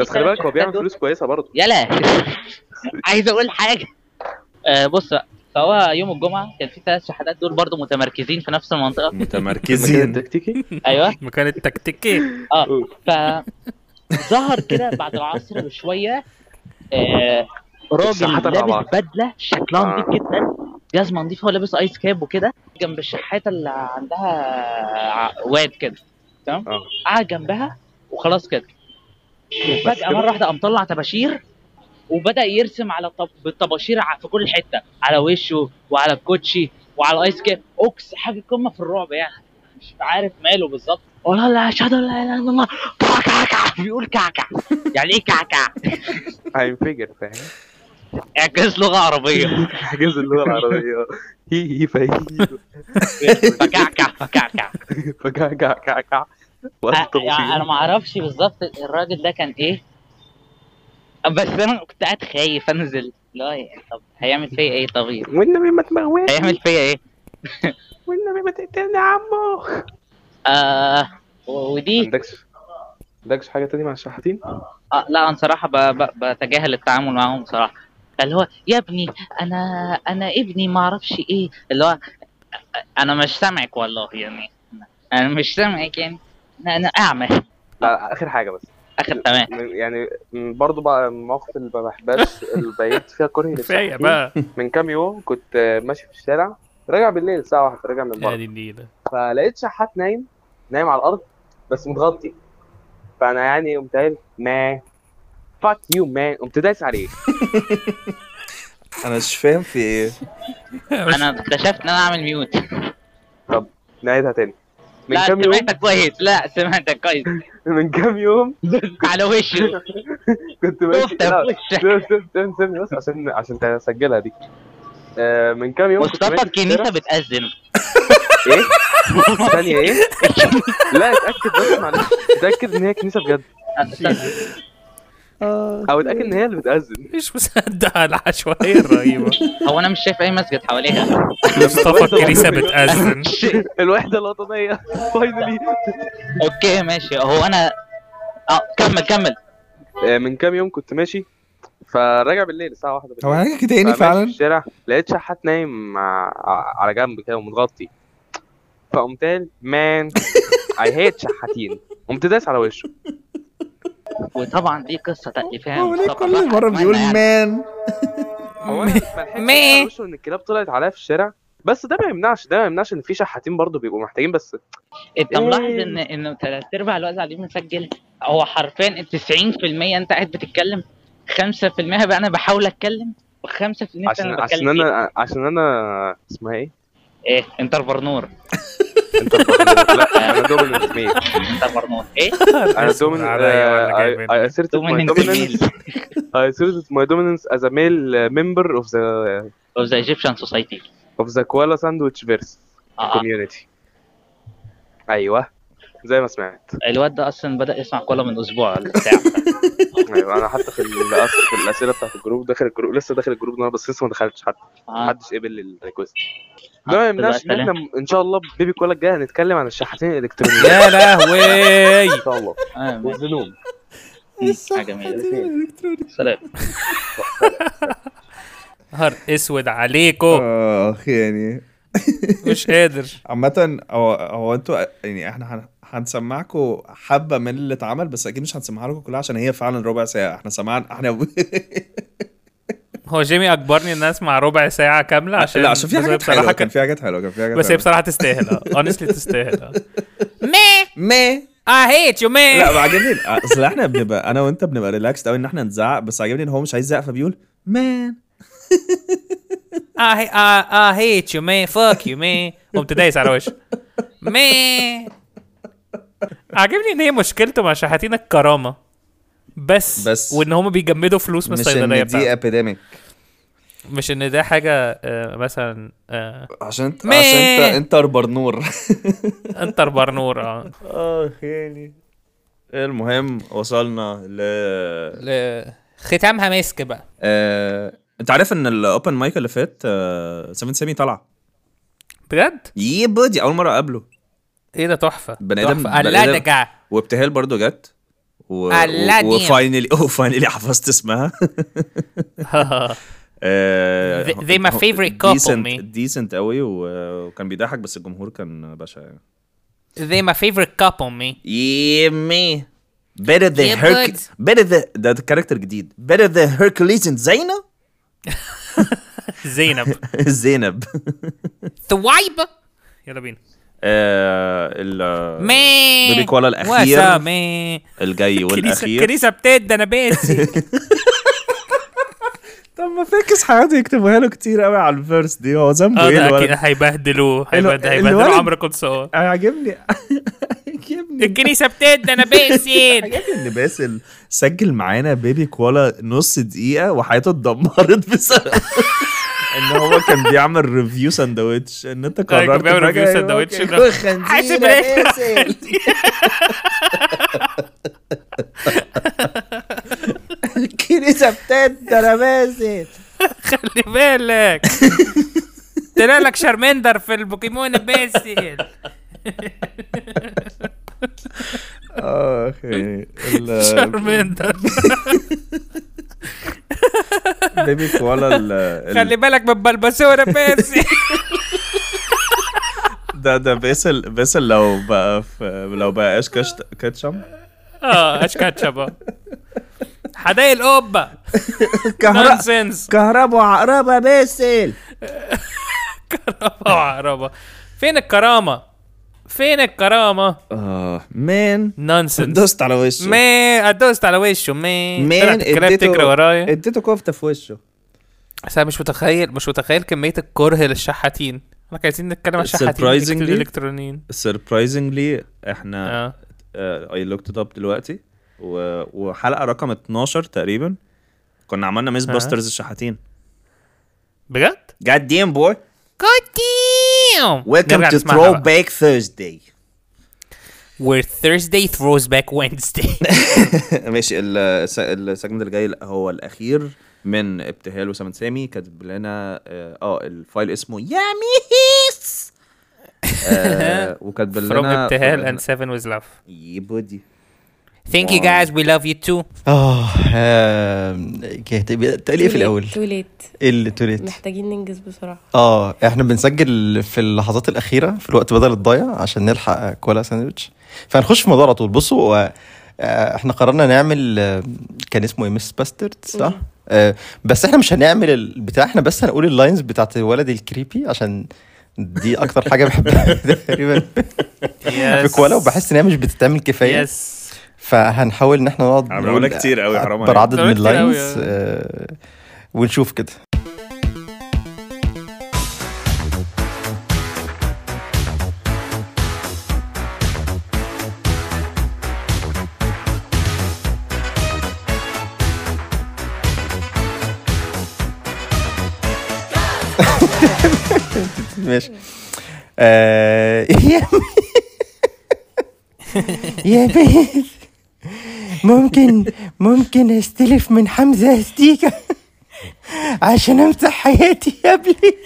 بس خلي بالك هو بيعمل فلوس كويسه برضه يلا عايز اقول حاجه آه بص بقى فهو يوم الجمعه كان في ثلاث شحاتات دول برضو متمركزين في نفس المنطقه متمركزين تكتيكي ايوه مكان التكتيكي اه ف ظهر كده بعد العصر بشويه آه الشحاتة راجل مع لابس بعض. بدله شكلها نضيف جدا جزمه نضيفه ولابس ايس كاب وكده جنب الشحاته اللي عندها ع- واد آه، كده تمام آه. قعد جنبها وخلاص كده بس وفجاه كده؟ مره واحده قام طلع طباشير وبدا يرسم على طب... بالطباشير ع- في كل حته على وشه وعلى الكوتشي وعلى الايس كاب اوكس حاجه قمه في الرعب يعني مش عارف ماله بالظبط ولا لا اشهد ان لا اله الا الله كعكع بيقول كعكع يعني ايه كعكع؟ هينفجر فاهم اعجاز لغه عربيه حجز اللغه العربيه هي هي فهي فكعكع فكعكع فكعكع كعكع وقت يعني انا ما اعرفش بالظبط الراجل ده كان ايه بس انا كنت قاعد خايف انزل لا يعني طب هيعمل فيا ايه طبيعي والنبي ما تموتني هيعمل فيا ايه والنبي ما تقتلني يا عمو آه ودي عندكش عندكش حاجه تاني مع الشحاتين؟ آه لا انا صراحه ب... ب... بتجاهل التعامل معاهم بصراحه اللي هو يا ابني انا انا ابني ما اعرفش ايه اللي هو انا مش سامعك والله يعني انا مش سامعك يعني انا, أنا اعمى لا اخر حاجه بس اخر تمام يعني برضه بقى من المواقف اللي ما بحبهاش اللي بقيت فيها كره كفاية للشحاتين. بقى. من كام يوم كنت آه، ماشي في الشارع راجع بالليل الساعه 1 راجع من بره يا دي النيلة فلقيت شحات نايم نايم على الارض بس متغطي فانا يعني قمت قايل ما فاك يو مان قمت دايس عليه انا مش فاهم في إيه. ايه انا اكتشفت ان انا اعمل ميوت طب نعيدها تاني من لا كام يوم سمعتك كويس لا سمعتك كويس من كام يوم على وشه كنت ماشي لا، سيبني- سيبني- سيبني- سيبني بس عشان عشان تسجلها دي آه، من كام يوم كنت مصطفى ماشي في الشارع. الكنيسه بتأذن ايه؟ ثانية ايه؟ لا اتأكد بس معلش اتأكد ان هي كنيسة بجد طيب. آه. او اتأكد ان هي اللي بتأذن مش مصدق على العشوائية الرهيبة هو انا مش شايف اي مسجد حواليها مصطفى الكنيسة بتأذن الوحدة الوطنية فاينلي اوكي ماشي هو انا اه كمل كمل آه، من كام يوم كنت ماشي فراجع بالليل الساعة 1 بالليل هو أنا كده يعني فماشي فعلاً؟ في الشارع لقيت شحات نايم ع- ع- على جنب كده ومتغطي فقمت قال مان اي هيت شحاتين قمت دايس على وشه وطبعا دي قصه تأليفها هو ليه مصطفى كل بقى. مرة بيقول يعني. مان هو انا ما لحقتش على وشه ان الكلاب طلعت عليا في الشارع بس ده ما يمنعش ده ما يمنعش ان في شحاتين برضه بيبقوا محتاجين بس انت إيه؟ ملاحظ ان ان ثلاث ارباع الوقت عليه مسجل هو حرفيا 90% انت قاعد بتتكلم 5% بقى انا بحاول اتكلم و5% عشان انا عشان بتكلم فيه. انا عشان انا اسمها ايه؟ ايه انت برنور انا دوميننت ميل انت برنور ايه انا دوميننت آه، اي asserted my Dominant dominance I asserted my dominance as a male uh, member of the of the Egyptian society of the koala sandwich verse آه. community ايوه زي ما سمعت الواد ده اصلا بدا يسمع كولا من اسبوع ولا بتاع ايوه انا حتى في ال- في الاسئله بتاعت الجروب داخل الجروب لسه داخل الجروب ده بس لسه ما دخلتش حتى محدش قبل الريكوست ده ما يمنعش ان احنا ان شاء الله بيبي كولا الجايه هنتكلم عن الشحاتين الالكترونيه يا لهوي ان شاء الله والذنوب حاجه جميله سلام نهار اسود عليكم اخ يعني مش قادر عامة هو هو انتوا يعني احنا هن- هنسمعكم حبة من اللي اتعمل بس اكيد مش هنسمعها لكم كلها عشان هي فعلا ربع ساعة احنا سمعنا احنا هو جيمي اجبرني ان اسمع ربع ساعة كاملة عشان لا عشان في بس هي حاجات بصراحة حلوة كان- كان في حاجات حلوة كان في حاجات بس هي حلوة. بصراحة تستاهل اه اونستلي تستاهل اه Me. Me. I hate you man لا ما عجبني اصل احنا بنبقى انا وانت بنبقى ريلاكسد قوي ان احنا نزعق بس عجبني ان هو مش عايز يزعق فبيقول مان آه، I, I, I hate you man fuck you man قمت دايس على وشه مي عاجبني ان هي مشكلته مع شحاتين الكرامه بس بس وان هم بيجمدوا فلوس من مش الصيدليه ان دي بتاعتهم ابيديميك مش ان ده حاجه آه، مثلا آه، عشان انت مي. عشان انت انت برنور انتر برنور اه اخ يعني المهم وصلنا ل ختامها مسك بقى آه، انت عارف ان الاوبن مايك اللي فات آه، سيفن سامي طلع بجد؟ يي بدي اول مره اقابله ايه ده تحفه بني ادم تحفة. بني لا آدم- ده جع. وابتهال برضو جت و... الله دي. وفاينلي وفاينلي حفظت اسمها آه، They- they my favorite couple, me. ديسنت قوي و- وكان بيضحك بس الجمهور كان بشع يعني they my favorite couple me yeah me better than Yeah, Herc- but- better than ده كاركتر جديد better than Hercules and زينب زينب زينب ثويبة يلا بينا آه، ال مي. بيبي كوالا واسا الاخير مي. الجاي كنيسه والاخير كنيسه بتد انا باسي طب ما فاكس حياته يكتبوها له كتير قوي على الفيرس دي هو ذنبه اه ايه ده اكيد الولد إيه هيبهدلوه هيبهد- الو- هيبهدلوا الولد- آه، عمرو قدسوه عاجبني الكنيسه بتد انا باسل ان باسل سجل معانا بيبي كوالا نص دقيقه وحياته اتدمرت بسبب ان هو كان بيعمل ريفيو ساندوتش ان انت كان قررت بيعمل فجأة review أيوة، سندوتش. كان- لا. حاسب إيه؟ الكنيسه بتد انا باسل خلي بالك طلع لك شارمندر في البوكيمون باسل اه اخي ال- شارمندر بيبي كوالا ال- ال- خلي بالك من بلبسوره باسل ده ده باسل باسل لو بقى في لو بقى ايش كشت كاتشم اه اشكاتشبا حدايق القبه كهرباء. نونسنس كهربا وعقربة باسل كهرباء وعقربة فين الكرامة؟ فين الكرامة؟ اه مان نونسنس دوست على وشه مان ادوست على وشه مان طلعت مان الكلاب تجري ورايا اديته كفته في وشه بس انا مش متخيل مش متخيل كمية الكره للشحاتين احنا كنا عايزين نتكلم عن الشحاتين surprisingly الالكترونيين surprisingly آه. احنا آه، اي لوكت اب دلوقتي و- وحلقه رقم 12 تقريبا كنا عملنا ميس آه. باسترز الشحاتين بجد؟ جاد ديم بوي God damn ويلكم نرجع تو نسمعها ثرو بقى. باك ثيرزداي Where Thursday throws back Wednesday ماشي ال- الس- السجن اللي جاي لا، هو الاخير من ابتهال وسام سامي كاتب لنا اه آه، الفايل اسمه يا ميس آه، وكاتب لنا From ابتهال and seven with love يبودي Thank you guys we love you too اه آم، كاتب- تقول ايه في الاول؟ توليت ايه اللي توليت؟ محتاجين ننجز بسرعه اه احنا بنسجل في اللحظات الاخيره في الوقت بدل الضايع عشان نلحق كولا ساندويتش فهنخش في الموضوع على طول بصوا هو، آه، احنا قررنا نعمل آه، كان اسمه ايه مس باسترد صح؟ آه، بس احنا مش هنعمل البتاع احنا بس هنقول اللاينز بتاعت الولد الكريبي عشان دي اكتر حاجه بحبها تقريبا في كوالا وبحس ان هي مش بتتعمل كفايه يس فهنحاول ان احنا نقعد عملونا نقول كتير أوي، حرام اكبر عليك. عدد من عملونا كتير أوي، اللاينز آه. آه، ونشوف كده ماشي آه، يا يا بيت ممكن ممكن استلف من حمزة استيكة عشان امسح حياتي قبلك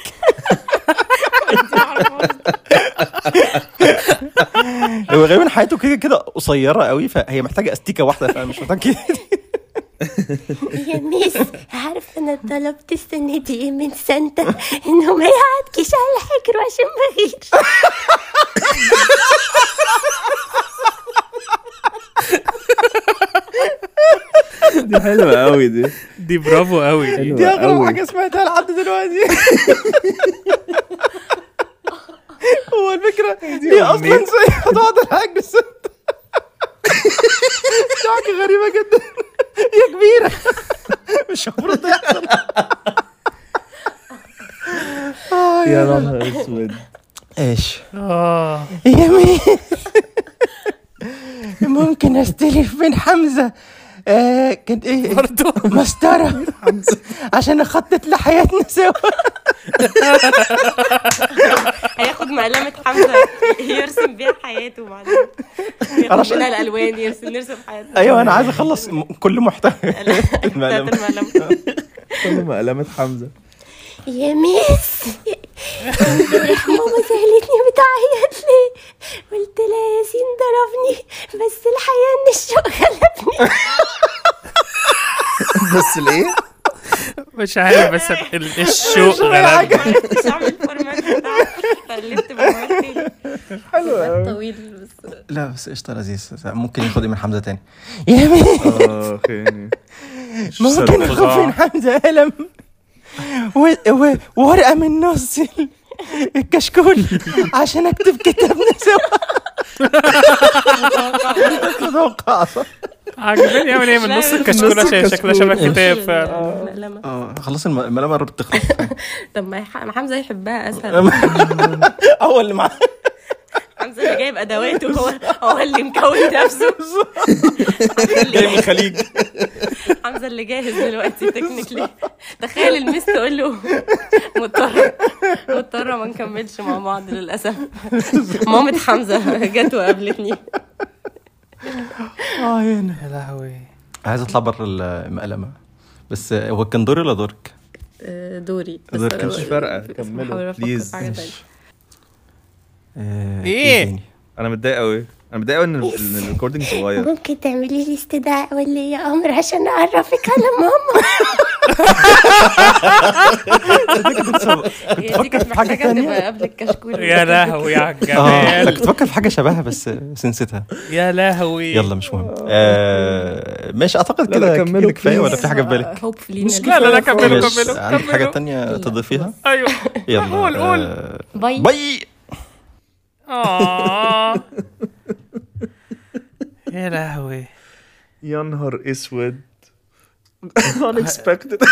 هو غالبا حياته كده كده قصيره قوي فهي محتاجه استيكه واحده فمش محتاج كده يا ميس عارف انا طلبت السنة دي ايه من سانتا انه ما يعدكش على حجره عشان ما غيرش دي حلوه قوي دي دي برافو قوي دي اغرب حاجة سمعتها لحد دلوقتي هو الفكرة دي اصلا أمنية. زي هتقعد الحاج ست دي حاجة غريبة جدا يا كبيرة مش المفروض تحصل آه، يا نهار آه، اسود ايش اه يا مين ممكن استلف من حمزه آه كان ايه برضه مسطره عشان اخطط لحياتنا سوا هياخد مقلمة حمزة يرسم بيها حياته بعدين ياخد معرفش. منها الألوان يرسم نرسم حياتنا ايوه انا عايز اخلص م- كل محتوى بتاعت المقلمة كل مقلمه حمزه يا ميس امبارح ماما سألتني بتعيط ليه قلت لها ياسين ضربني بس الحقيقة ان الشوق غلبني بس ليه؟ مش عارف بس ال- الشوق غلبني مش عامل فورمات بتاع قلبت بمواد حلو أوي. طويل بس لا بس قشطه لذيذ ممكن ياخد من حمزه تاني آه، يا مين اه خيني ممكن اخاف من حمزه قلم و- و- وورقه من نص ال- الكشكول عشان اكتب كتابنا سوا متوقع صح عاجبني اعمل ايه من نص الكشكول عشان شكلها شبه كتاب فعلا المقلمة آه. اه خلاص الم- الملامه قربت تخلص طب ما يح- ما حمزة يحبها أسهل هو اللي معاه حمزة اللي جايب أدواته هو هو اللي مكون نفسه جاي من الخليج حمزة اللي جاهز دلوقتي تكنيكلي تخيل المس تقول له مضطرة مضطرة ما نكملش مع بعض للأسف مامة حمزة جت وقابلتني اه هنا يا لهوي عايز اطلع بره المقلمه بس هو كان دوري ولا دورك؟ آه، دوري بس ما أنا كانش بقى- فارقه بحاول كملوا أفكر في بليز حاجة تانية. إيه؟ ايه انا متضايق قوي انا متضايق قوي ان إن الريكوردنج صغير ممكن تعملي لي استدعاء ولي يا قمر عشان اعرفك على ماما هي دي كانت محتاجه تبقى قبل الكشكول يا لهوي يا اه انا جمال كنت بفكر في حاجه شبهها بس بس نسيتها يا لهوي يلا مش مهم آه ماشي اعتقد لا، لا، كده كملوا كده كفايه ولا please. في حاجه في بالك هوبفلي مش لا لا لا كملوا ماشي، كملوا أيوه. عندك حاجه تانية تضيفيها ايوه يلا قول، قول. آه، باي باي آه. يا لهوي يا نهار اسود unexpected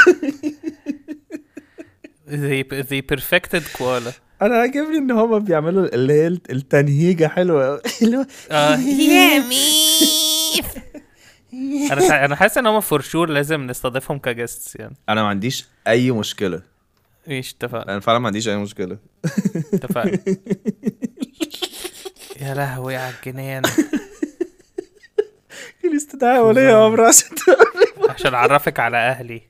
they, they perfected koala انا عاجبني ان هما بيعملوا اللي هي التنهيجه حلوه قوي اللي هو آه. يا ميف انا سع- انا حاسس ان هم فور شور لازم نستضيفهم كجاستس يعني انا ما عنديش اي مشكله ماشي اتفقنا انا فعلا ما عنديش اي مشكله اتفقنا يا لهوي على الجنان الاستدعاء ولي امر عشان عشان اعرفك على اهلي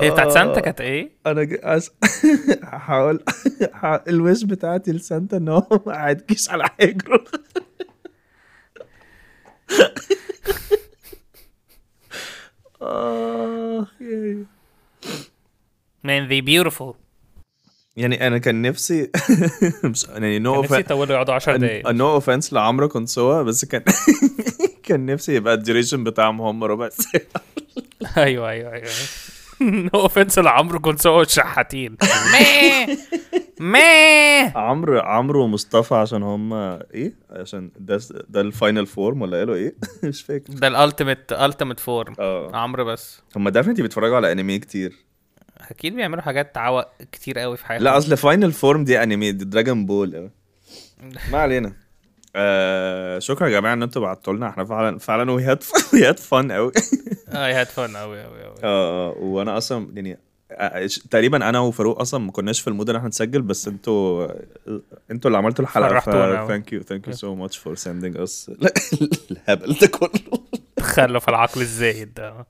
هي بتاعت سانتا كانت ايه؟ انا آه، ج- أس... هحاول ه- الويش بتاعتي لسانتا ان هو ما قعدكيش على حجره آه، ياي. man they beautiful يعني انا كان نفسي مش يعني نو كان نفسي يطولوا يقعدوا 10 دقايق نو اوفنس لعمرو كونسوا بس كان كان نفسي يبقى الديوريشن بتاعهم هم ربع ساعه ايوه ايوه ايوه نو اوفنس لعمرو كنت هو شحاتين ما عمرو عمرو ومصطفى عشان هم ايه عشان ده ده الفاينل فورم ولا قالوا ايه مش فاكر ده الالتيميت التيميت فورم آه. عمرو بس هم دافنتي بيتفرجوا على انمي كتير اكيد بيعملوا حاجات عوق كتير قوي في حياتهم لا اصل فاينل فورم دي انمي دي دراجون بول أوي. ما علينا آه شكرا يا جماعه ان انتوا بعتوا لنا احنا فعلا فعلا وي هاد وي هاد فن قوي اي هاد فن قوي قوي قوي اه آه، وانا اصلا يعني آه، ش- تقريبا انا وفاروق اصلا ما كناش في المود ان احنا نسجل بس انتوا انتوا اللي عملتوا الحلقه فرحتونا أوي. ثانك يو ثانك يو سو ماتش فور سندنج اس الهبل ده كله تخلف العقل الزايد ده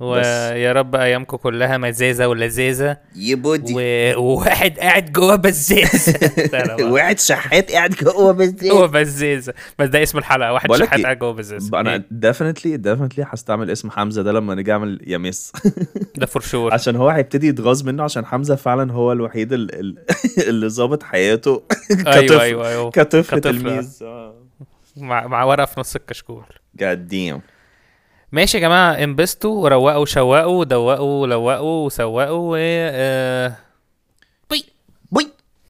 بس. ويا رب ايامكم كلها مزازه ولذاذه يبودي و... وواحد قاعد جوه بزازه واحد شحات قاعد جوه بزازه جوه بزازه بس ده اسم الحلقه واحد بقولك شحات إيه؟ قاعد جوه بزازه انا إيه؟ ديفنتلي ديفنتلي هستعمل اسم حمزه ده لما نيجي اعمل يا مس ده فور شور عشان هو هيبتدي يتغاظ منه عشان حمزه فعلا هو الوحيد ال- ال- اللي ظابط حياته كطفل ايوه ايوه ايوه كطفل تلميذ مع مع ورقه في نص الكشكول جاد ديم ماشي يا جماعه انبسطوا وروقوا وشوقوا ودوقوا ولوقوا وسوقوا و آه،